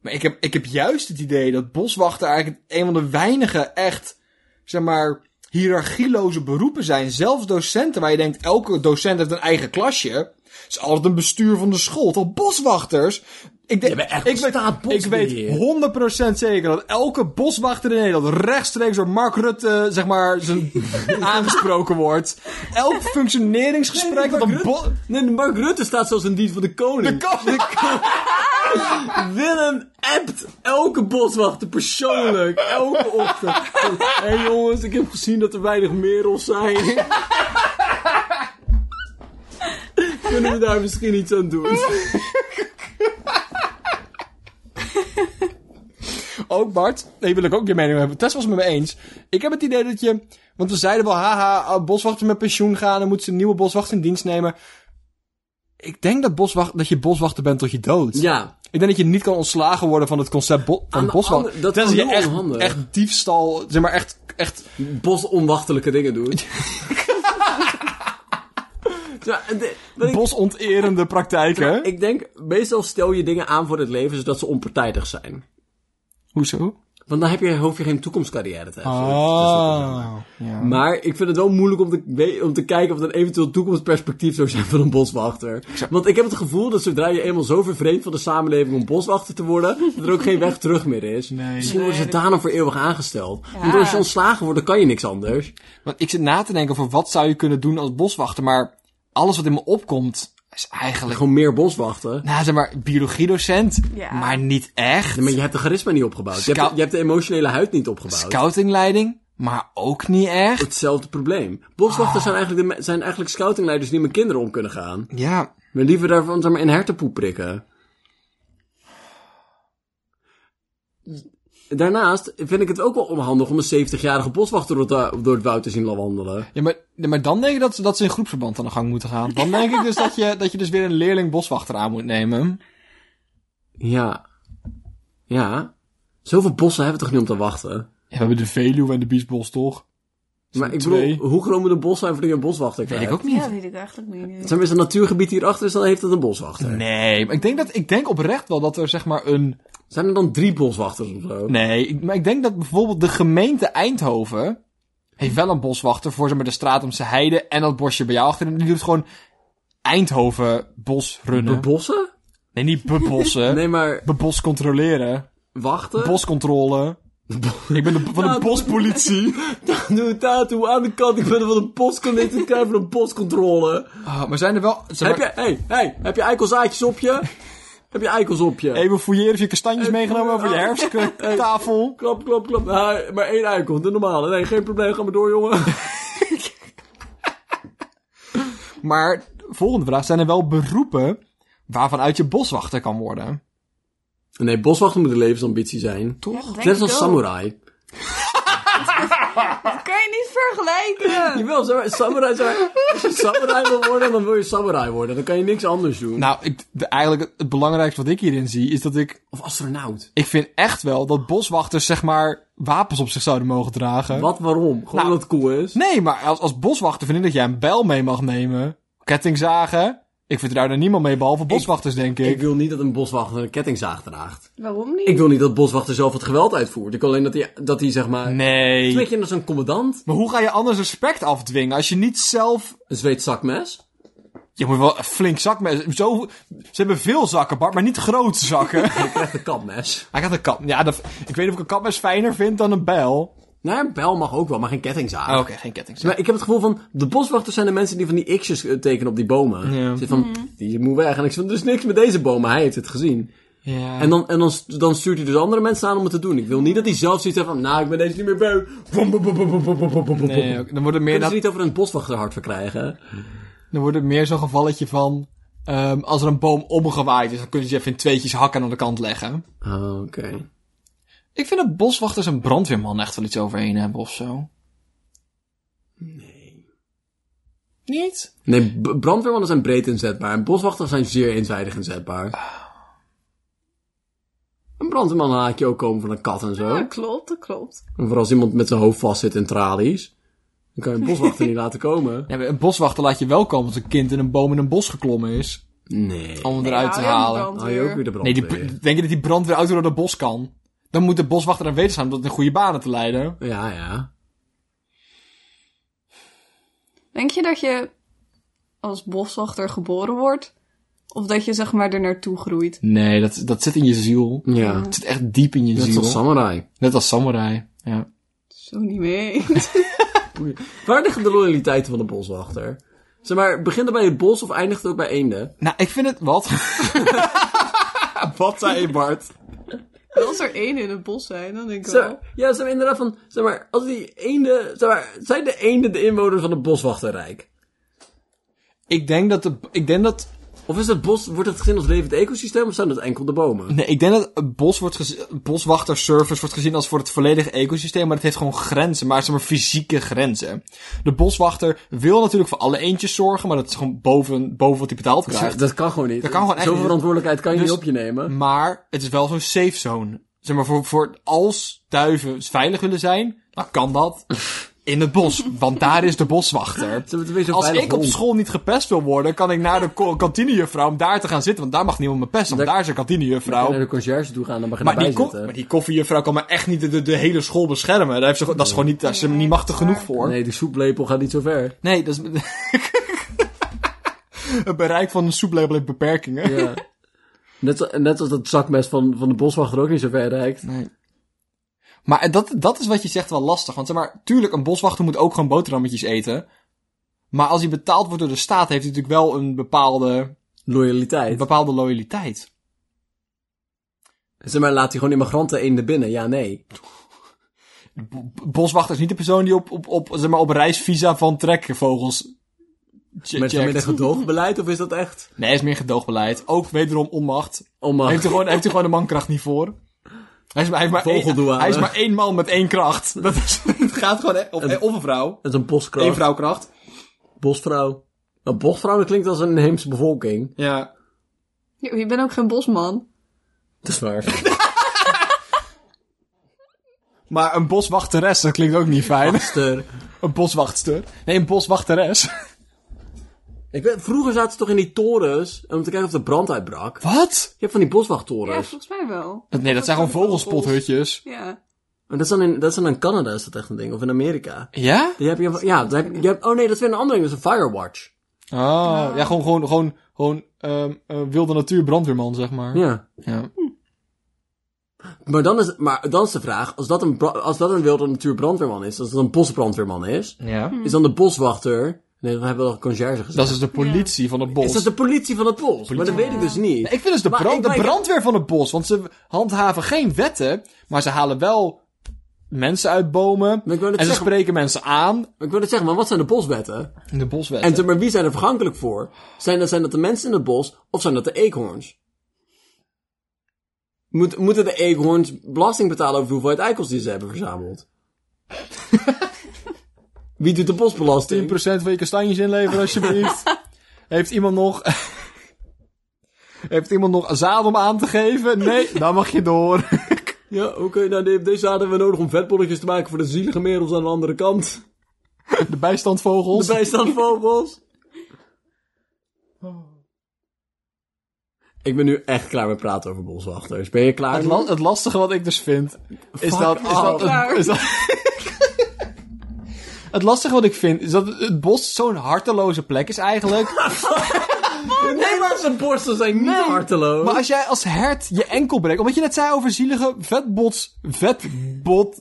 Speaker 1: Maar ik heb, ik heb juist het idee dat boswachter eigenlijk een van de weinige echt, zeg maar, hiërarchieloze beroepen zijn. Zelfs docenten, waar je denkt, elke docent heeft een eigen klasje. Het is altijd een bestuur van de school. Terwijl boswachters... Ik, denk,
Speaker 3: hebben echt
Speaker 1: ik, weet,
Speaker 3: staat
Speaker 1: ik weet 100% zeker dat elke boswachter in Nederland rechtstreeks door Mark Rutte, zeg maar, zijn aangesproken wordt. Elk functioneringsgesprek dat een bos...
Speaker 3: Nee, Mark Rutte staat zelfs in dienst van de koning.
Speaker 1: De koning...
Speaker 3: Willem appt elke boswachter persoonlijk. Elke ochtend. Hé hey jongens, ik heb gezien dat er weinig merels zijn. Kunnen we daar misschien iets aan doen?
Speaker 1: Ook Bart, nee, wil ik ook je mening hebben. Tess was het met me eens. Ik heb het idee dat oh, je. Want we zeiden wel, haha, boswachters met pensioen gaan. Dan moeten ze een nieuwe boswachter in dienst nemen. Ik denk dat, boswacht, dat je boswachter bent tot je dood.
Speaker 3: Ja,
Speaker 1: Ik denk dat je niet kan ontslagen worden van het concept bo-
Speaker 3: Aan
Speaker 1: van
Speaker 3: de
Speaker 1: boswachter.
Speaker 3: andere- dat
Speaker 1: Tenzij
Speaker 3: is
Speaker 1: je
Speaker 3: heel
Speaker 1: echt,
Speaker 3: onhandig.
Speaker 1: echt diefstal, zeg maar echt, echt
Speaker 3: bosonwachtelijke dingen doen. ja, de- dat ik- Nou,
Speaker 1: bosonterende praktijken.
Speaker 3: ik denk, meestal stel je dingen aan voor het leven zodat ze onpartijdig zijn.
Speaker 1: Hoezo?
Speaker 3: Want dan heb je, hoef je geen toekomstcarrière te
Speaker 1: Ah.
Speaker 3: hebben.
Speaker 1: Oh.
Speaker 3: Maar ik vind het wel moeilijk om te, we- om te kijken of dat eventueel toekomstperspectief zou zijn van een boswachter. Want ik heb het gevoel dat zodra je eenmaal zo vervreemd van de samenleving om boswachter te worden, dat er ook geen weg terug meer is. Misschien worden ze daarna voor eeuwig aangesteld. Want als je ontslagen wordt, dan kan je niks anders.
Speaker 1: Want ik zit na te denken over wat zou je kunnen doen als boswachter, maar alles wat in me opkomt is eigenlijk...
Speaker 3: Gewoon meer boswachten.
Speaker 1: Nou, zeg maar, biologiedocent,
Speaker 6: Ja.
Speaker 1: maar niet echt.
Speaker 3: Nee, maar je hebt de charisma niet opgebouwd. Je hebt,
Speaker 1: Scout-
Speaker 3: de- je hebt de emotionele huid niet opgebouwd.
Speaker 1: Scoutingleiding, maar ook niet echt.
Speaker 3: Hetzelfde probleem. Boswachters zijn, eigenlijk de, me- zijn eigenlijk scoutingleiders die met kinderen om kunnen gaan.
Speaker 1: Ja,
Speaker 3: Maar liever daarvan zeg maar, in hertenpoep prikken. Daarnaast vind ik het ook wel onhandig om een 70-jarige boswachter door, het- door het woud te zien wandelen.
Speaker 1: ja maar, ja, maar dan denk ik dat, ze- dat ze in groepsverband aan de gang moeten gaan. Dan denk ik dus dat je, dat je dus weer een leerling boswachter aan moet nemen.
Speaker 3: Ja. Ja. Zoveel bossen hebben we toch niet om te wachten?
Speaker 1: Ja, we hebben de Veluwe en de Biesbos, toch?
Speaker 3: Maar ik
Speaker 1: twee.
Speaker 3: bedoel, hoe groot moet een bos zijn voordat je een boswachter
Speaker 1: Weet
Speaker 3: krijgt?
Speaker 1: ik ook niet.
Speaker 6: Ja, weet ik eigenlijk niet.
Speaker 3: Zijn we een natuurgebied hierachter, is dan heeft het een boswachter.
Speaker 1: Nee, maar ik denk, dat, ik denk oprecht wel dat er zeg maar een...
Speaker 3: Zijn er dan drie boswachters of zo?
Speaker 1: Nee, ik- maar ik denk dat bijvoorbeeld de gemeente Eindhoven... heeft wel een boswachter voor zeg maar, de straat om zijn heide en dat bosje bij jou achterin. Die doet gewoon Eindhoven bosrunnen.
Speaker 3: Bossen?
Speaker 1: nee, niet bebossen.
Speaker 3: Nee, maar
Speaker 1: Bebos controleren.
Speaker 3: wachten.
Speaker 1: Boscontrole. Ik ben de, van de
Speaker 3: Ja,
Speaker 1: bospolitie.
Speaker 3: Doe een tattoo aan de kant. Ik ben er van een postconnect. Ik krijg van een postcontrole.
Speaker 1: Ah, maar zijn er wel... zeg
Speaker 3: Heb
Speaker 1: maar,
Speaker 3: je, hey, hey, heb je eikelzaadjes op je? heb je eikels op je?
Speaker 1: Even fouilleren of je kastanjes meegenomen voor je herfsttafel.
Speaker 3: Klap, klap, klap. Ah, maar één eikel, de normale. Nee, geen probleem, ga maar door, jongen.
Speaker 1: Maar, volgende vraag. Zijn er wel beroepen waarvan uit je boswachter kan worden?
Speaker 3: Nee, boswachter moet een levensambitie zijn.
Speaker 6: Ja, dat denk
Speaker 3: Net
Speaker 6: ik
Speaker 3: als
Speaker 6: ook.
Speaker 3: samurai.
Speaker 6: Dat kan je niet vergelijken.
Speaker 3: Jawel, zeg maar, samurai zijn. Als je samurai wil worden, dan wil je samurai worden. Dan kan je niks anders doen.
Speaker 1: Nou, ik, de- eigenlijk het, het belangrijkste wat ik hierin zie is dat ik.
Speaker 3: Of astronaut.
Speaker 1: Ik vind echt wel dat boswachters, zeg maar, wapens op zich zouden mogen dragen.
Speaker 3: Wat, waarom? Gewoon
Speaker 1: Nou.
Speaker 3: omdat het cool is.
Speaker 1: Nee, maar als, als boswachter vind ik dat jij een bijl mee mag nemen. Kettingzagen. Ik vertrouw daar niemand mee, behalve boswachters, denk ik.
Speaker 3: Ik wil niet dat een boswachter een kettingzaag draagt.
Speaker 6: Waarom niet?
Speaker 3: Ik wil niet dat boswachter zelf het geweld uitvoert. Ik wil alleen dat hij, dat hij zeg maar...
Speaker 1: nee.
Speaker 3: Een beetje naar zo'n commandant.
Speaker 1: Maar hoe ga je anders respect afdwingen als je niet zelf.
Speaker 3: Een Zweeds zakmes.
Speaker 1: Je moet wel een flink zak met. Zo, ze hebben veel zakken, Bart, maar niet grote zakken.
Speaker 3: Je krijgt een kapmes.
Speaker 1: Hij gaat een kap. Ja, dat, ik weet niet of ik een kapmes fijner vind dan een bijl.
Speaker 3: Nou, een bijl mag ook wel, maar geen kettingzaag.
Speaker 1: Ah, Oké, geen kettingzagen.
Speaker 3: Maar ik heb het gevoel van... De boswachters zijn de mensen die van die x'jes eh, tekenen op die bomen.
Speaker 1: Ja.
Speaker 3: Zit van, die moet weg. En ik zeg, er is niks met deze bomen. Hij heeft het gezien.
Speaker 1: Ja.
Speaker 3: En, dan, en dan, st- dan stuurt hij dus andere mensen aan om het te doen. Ik wil niet dat hij zelf zoiets heeft van... Nou, ik ben deze niet meer beu. Vom, bom, bom, bom, bom, bom, bom, bom, bom.
Speaker 1: Nee, ook- dan wordt het meer
Speaker 3: Kunnen
Speaker 1: dat
Speaker 3: ze niet over een boswachter hard verkrijgen?
Speaker 1: Dan wordt het meer zo'n gevalletje van... ehm, als er een boom omgewaaid is, dan kunnen ze die even in tweetjes hakken en aan de kant leggen.
Speaker 3: Ah, Oké.
Speaker 1: Ik vind dat boswachters en brandweerman echt wel iets overheen hebben of zo. Nee. Niet?
Speaker 3: Nee, b- brandweermannen zijn breed inzetbaar. En boswachters zijn zeer eenzijdig inzetbaar. Een brandweerman haak je ook komen van een kat en zo.
Speaker 6: Ja, klopt, dat klopt.
Speaker 3: En voor als iemand met zijn hoofd vastzit in tralies. Dan kan je een boswachter niet laten komen.
Speaker 1: Ja, maar een boswachter laat je wel komen als een kind in een boom in een bos geklommen is.
Speaker 3: Nee.
Speaker 1: Om hem eruit te
Speaker 6: Ja, ja,
Speaker 1: halen.
Speaker 6: brandweer.
Speaker 3: Hou je ook weer de
Speaker 1: Nee, die,
Speaker 3: brandweer.
Speaker 1: br- denk je dat die brandweerauto door het bos kan? Dan moet de boswachter dan weten zijn om dat in goede banen te leiden.
Speaker 3: Ja, ja.
Speaker 6: Denk je dat je als boswachter geboren wordt? Of dat je zeg maar er naartoe groeit?
Speaker 1: Nee, dat, dat zit in je ziel.
Speaker 3: Ja.
Speaker 1: Het zit echt diep in je
Speaker 3: Net
Speaker 1: ziel.
Speaker 3: als samurai.
Speaker 1: Net als samurai. Ja.
Speaker 6: Zo niet mee.
Speaker 3: Waar liggen de loyaliteiten van de boswachter? Zeg maar, begint het bij het bos of eindigt het ook bij eenden?
Speaker 1: Nou, ik vind het... Wat? wat zei je, Bart?
Speaker 6: Als er één in het bos zijn, dan denk ik
Speaker 3: Zeg-
Speaker 6: wel.
Speaker 3: ja, zeg maar, inderdaad van, zeg maar, als die eenden, zeg maar, zijn de eenden de inwoners van het boswachterrijk?
Speaker 1: Ik denk dat de... Ik denk dat...
Speaker 3: Of is dat bos, wordt het gezien als levend ecosysteem of zijn dat enkel de bomen?
Speaker 1: Nee, ik denk dat een bos wordt gez- boswachterservice wordt gezien als voor het volledige ecosysteem, maar het heeft gewoon grenzen, maar het zijn maar fysieke grenzen. De boswachter wil natuurlijk voor alle eentjes zorgen, maar dat is gewoon boven, boven wat hij betaald krijgt.
Speaker 3: Dat kan gewoon niet.
Speaker 1: Dat kan gewoon echt
Speaker 3: Zoveel
Speaker 1: niet.
Speaker 3: verantwoordelijkheid kan je
Speaker 1: Dus-
Speaker 3: niet op je nemen.
Speaker 1: Maar het is wel zo'n safe zone. Zeg maar, voor, voor als duiven veilig willen zijn, dan kan dat in het bos, want daar is de boswachter.
Speaker 3: Ze hebben tenminste een
Speaker 1: Als
Speaker 3: veilig
Speaker 1: ik op
Speaker 3: hond.
Speaker 1: school niet gepest wil worden, kan ik naar de ko- kantinejuffrouw om daar te gaan zitten, want daar mag niemand me pesten, want
Speaker 3: Daar-
Speaker 1: daar is een kantinejuffrouw.
Speaker 3: Ga naar de conciërge toe gaan, dan mag je
Speaker 1: Nou, Maar
Speaker 3: erbij
Speaker 1: die, ko-
Speaker 3: zitten.
Speaker 1: maar die koffiejuffrouw kan me echt niet de, de, de hele school beschermen. Daar heeft ze, gewoon- dat is gewoon niet, daar is ze niet machtig genoeg voor. Nee,
Speaker 3: Nee, die soeplepel gaat niet zo ver.
Speaker 1: dat is... Het bereik van een soeplepel heeft beperkingen.
Speaker 3: Ja. net, zo- net als dat zakmes van, van de boswachter ook niet zo ver reikt.
Speaker 1: Maar dat, dat is wat je zegt wel lastig. Want zeg maar, tuurlijk, een boswachter moet ook gewoon boterhammetjes eten. Maar als hij betaald wordt door de staat, heeft hij natuurlijk wel een bepaalde, een
Speaker 3: Loyaliteit.
Speaker 1: bepaalde loyaliteit.
Speaker 3: Zeg maar, laat hij gewoon immigranten in de binnen? Ja, nee.
Speaker 1: B- Boswachter is niet de persoon die op, op, op, zeg maar, op reisvisa van trekvogels che-
Speaker 3: Met zo'n
Speaker 1: checkt.
Speaker 3: gedoogbeleid, of is dat echt?
Speaker 1: Nee, is meer gedoogbeleid. Ook wederom onmacht.
Speaker 3: Onmacht.
Speaker 1: Heeft hij, gewoon, heeft hij gewoon de mankracht niet voor? Hij is, maar- hij, is maar één,
Speaker 3: Vogeldouane.
Speaker 1: hij is maar één man met één kracht. Dat is, het gaat gewoon, hè, of, of een vrouw.
Speaker 3: Dat is een
Speaker 1: Eén
Speaker 3: boskracht.
Speaker 1: vrouwkracht.
Speaker 3: Bosvrouw. Nou, bosvrouw dat klinkt als een inheemse bevolking.
Speaker 1: Ja.
Speaker 6: Je, je bent ook geen bosman.
Speaker 3: Dat is waar.
Speaker 1: Maar een boswachteres, dat klinkt ook niet fijn.
Speaker 3: Aster.
Speaker 1: Een boswachtster. Nee, een boswachteres.
Speaker 3: Ik weet, vroeger zaten ze toch in die torens om te kijken of de brand uitbrak. Je
Speaker 1: Wat?
Speaker 3: hebt van die
Speaker 6: Ja,
Speaker 3: boswachttorens.
Speaker 6: volgens mij wel.
Speaker 1: Nee, dat zijn gewoon vogselspothutjes.
Speaker 6: Ja.
Speaker 3: En dat is, dan in, dat is dan in Canada is dat echt een ding, of in Amerika.
Speaker 1: Ja?
Speaker 3: Die heb je, ja, daar heb, je hebt, oh nee, dat is weer een andere ding, dat is een firewatch.
Speaker 1: Oh, ja, gewoon, gewoon, gewoon, gewoon ehm, eh, wilde natuur brandweerman, zeg maar.
Speaker 3: Ja.
Speaker 1: Ja.
Speaker 3: Maar dan, is, maar dan is de vraag, als dat een, bra- als dat een wilde natuurbrandweerman is, als dat een bosbrandweerman is,
Speaker 1: ja.
Speaker 3: is dan de boswachter, nee, dan hebben we al een conciërge gezegd.
Speaker 1: Dat is dus de politie van het bos.
Speaker 3: Is dat de politie van het bos? Maar dat weet ik dus niet.
Speaker 1: Ik vind dus de,
Speaker 3: Maar
Speaker 1: brand,
Speaker 3: ik-
Speaker 1: de
Speaker 3: maar ik-
Speaker 1: brandweer van het bos. Want ze handhaven geen wetten. Maar ze halen wel mensen uit bomen.
Speaker 3: Maar ik wou net
Speaker 1: En ze
Speaker 3: zeggen-
Speaker 1: spreken mensen aan.
Speaker 3: Maar Ik wil het zeggen, maar wat zijn de boswetten?
Speaker 1: In de boswetten.
Speaker 3: En te- maar wie zijn er vergankelijk voor? Zijn dat, zijn dat de mensen in het bos of zijn dat de eekhoorns? Moet, moeten de eekhoorns belasting betalen over de hoeveelheid eikels die ze hebben verzameld? wie doet de bosbelasting?
Speaker 1: 10% van je kastanjes inleveren alsjeblieft. Heeft iemand nog... Heeft iemand nog zaad om aan te geven? Nee, dan mag je door.
Speaker 3: Ja, oké, nou de- deze hadden we nodig om vetbolletjes te maken voor de zielige merels aan de andere kant.
Speaker 1: De bijstandvogels.
Speaker 3: De bijstandvogels. Ik ben nu echt klaar met praten over boswachters. Ben je klaar?
Speaker 1: Het, la- het lastige wat ik dus vind, is
Speaker 3: Fuck
Speaker 1: dat... Is dat,
Speaker 6: off.
Speaker 1: het, is dat het lastige wat ik vind, is dat het bos zo'n harteloze plek is eigenlijk.
Speaker 3: nee, maar zijn borsten zijn niet harteloos.
Speaker 1: Maar als jij als hert je enkel breekt, omdat je net zei over zielige vetbots, vetbot,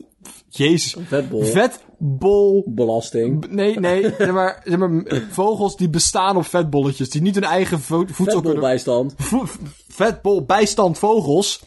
Speaker 1: jezus,
Speaker 3: Vetbol.
Speaker 1: vetbol,
Speaker 3: Belasting.
Speaker 1: nee, nee, zeg maar, zeg maar eh, vogels die bestaan op vetbolletjes, die niet hun eigen vo- voedsel kunnen,
Speaker 3: bijstand.
Speaker 1: vo- vetbol, bijstand vogels.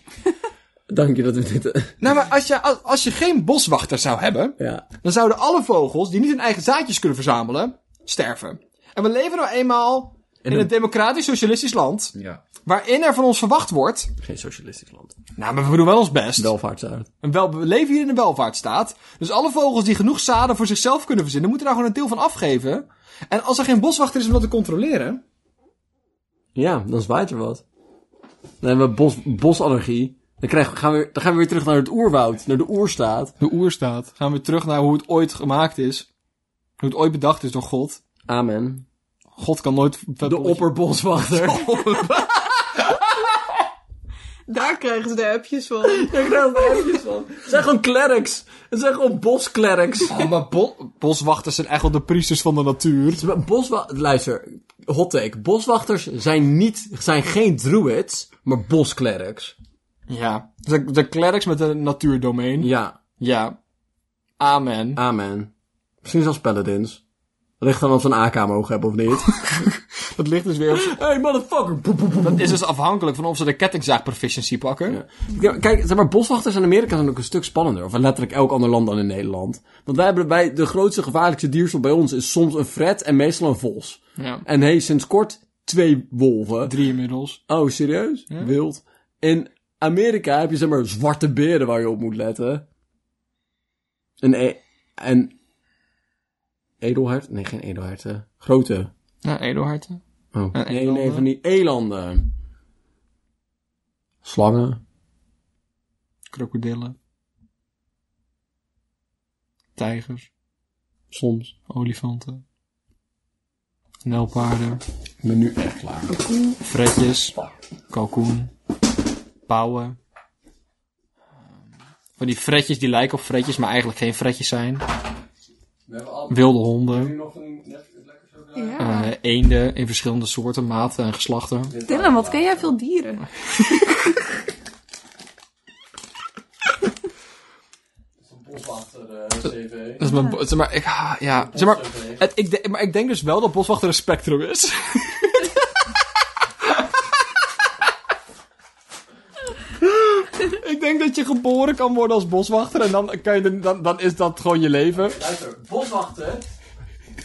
Speaker 3: Dank je dat we dit... eh,
Speaker 1: Nou, maar als je, als, als je geen boswachter zou hebben,
Speaker 3: Ja.
Speaker 1: dan zouden alle vogels die niet hun eigen zaadjes kunnen verzamelen, sterven. En we leven nou eenmaal in, een democratisch-socialistisch land,
Speaker 3: ja.
Speaker 1: waarin er van ons verwacht wordt,
Speaker 3: Geen socialistisch land.
Speaker 1: nou, maar we doen wel ons best.
Speaker 3: Welvaartsuit.
Speaker 1: Een wel, we leven hier in een welvaartsstaat. Dus alle vogels die genoeg zaden voor zichzelf kunnen verzinnen, moeten daar gewoon een deel van afgeven. En als er geen boswachter is om dat te controleren.
Speaker 3: Ja, dan zwaait er wat. Dan hebben we bos, bosallergie. Dan, krijgen, we- gaan we, dan gaan we weer terug naar het oerwoud, naar de oerstaat.
Speaker 1: De oerstaat. Gaan we terug naar hoe het ooit gemaakt is. Hoe het ooit bedacht is door God.
Speaker 3: Amen.
Speaker 1: God kan nooit.
Speaker 3: De opperboswachter.
Speaker 6: Daar krijgen ze de appjes van.
Speaker 3: Ik krijg er eventjes van. Het zijn gewoon clerics. Het zijn gewoon bosklerks.
Speaker 1: Oh, maar bo- boswachters zijn echt wel de priesters van de natuur.
Speaker 3: Boswa luister, hot take. Boswachters zijn, niet, zijn geen druids, maar bosklerks.
Speaker 1: Ja. De, de clerics met een natuurdomein.
Speaker 3: Ja,
Speaker 1: Ja. Amen.
Speaker 3: Amen. Misschien zelfs paladins. Ligt dan op zo'n AK mogen hebben of niet.
Speaker 1: Dat ligt dus weer. op-
Speaker 3: hey motherfucker! Boep, boep, boep.
Speaker 1: Dat is dus afhankelijk van of ze de kettingzaag proficiency pakken.
Speaker 3: Ja, Kijk, zeg maar, boswachters in Amerika zijn ook een stuk spannender. Of in letterlijk elk ander land dan in Nederland. Want wij hebben bij de grootste gevaarlijkste diersoort bij ons is soms een fret en meestal een vos.
Speaker 1: Ja.
Speaker 3: En hey, sinds kort twee wolven.
Speaker 1: Drie inmiddels.
Speaker 3: Oh, serieus? Wild. In Amerika heb je zeg maar zwarte beren waar je op moet letten. En, e- en edelhert? Nee, geen edelherten. Grote.
Speaker 1: Ja, edelharten.
Speaker 3: Oh.
Speaker 1: En
Speaker 3: Nee, nee,
Speaker 1: elanden.
Speaker 3: van die elanden. Slangen.
Speaker 1: Krokodillen. Tijgers.
Speaker 3: Soms.
Speaker 1: Olifanten. Nelpaarden.
Speaker 3: Ik ben nu echt klaar.
Speaker 1: Fretjes. Kalkoen. Pauwen. Ehm, Van die fretjes die lijken op fretjes, maar eigenlijk geen fretjes zijn. Wilde honden.
Speaker 6: Ja.
Speaker 1: eh, eenden in verschillende soorten, maten en geslachten.
Speaker 6: Dylan, wat ken jij veel dieren?
Speaker 3: eh,
Speaker 1: Dat is mijn... bo- Zeg maar, ik, ah, ja, zeg maar, het, ik, de- maar ik denk dus wel dat boswachter een spectrum is. ik denk dat je geboren kan worden als boswachter en dan, kan je, de- dan, dan is dat gewoon je leven.
Speaker 3: Luister, boswachten.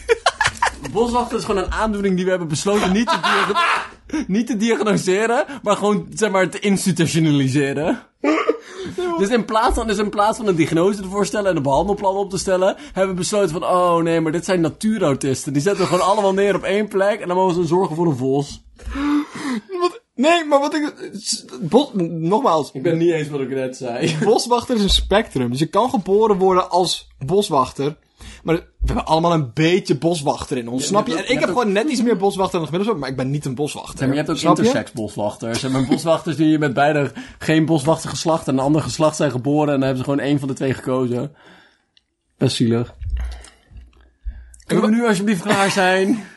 Speaker 3: boswachten is gewoon een aandoening die we hebben besloten niet te, diago- niet te diagnoseren, maar gewoon zeg maar te institutionaliseren. Dus in, plaats van, dus in plaats van een diagnose te voorstellen en een behandelplan op te stellen, hebben we besloten van, oh nee, maar dit zijn natuurautisten. Die zetten we gewoon allemaal neer op één plek en dan mogen ze zorgen voor een vos.
Speaker 1: Wat- nee, maar wat ik... Bos, nogmaals,
Speaker 3: Ik ben niet eens wat ik net zei.
Speaker 1: boswachter is een spectrum. Dus je kan geboren worden als boswachter. Maar we hebben allemaal een beetje boswachter in ons, snap je? En ik heb gewoon net iets meer boswachter dan gemiddeld, maar ik ben niet een boswachter.
Speaker 3: Ja, maar je hebt ook
Speaker 1: Snap
Speaker 3: intersex boswachters. En mijn boswachters die met beide geen boswachter geslacht en een ander geslacht zijn geboren. En dan hebben ze gewoon één van de twee gekozen. Best zielig. Kunnen we nu alsjeblieft klaar zijn?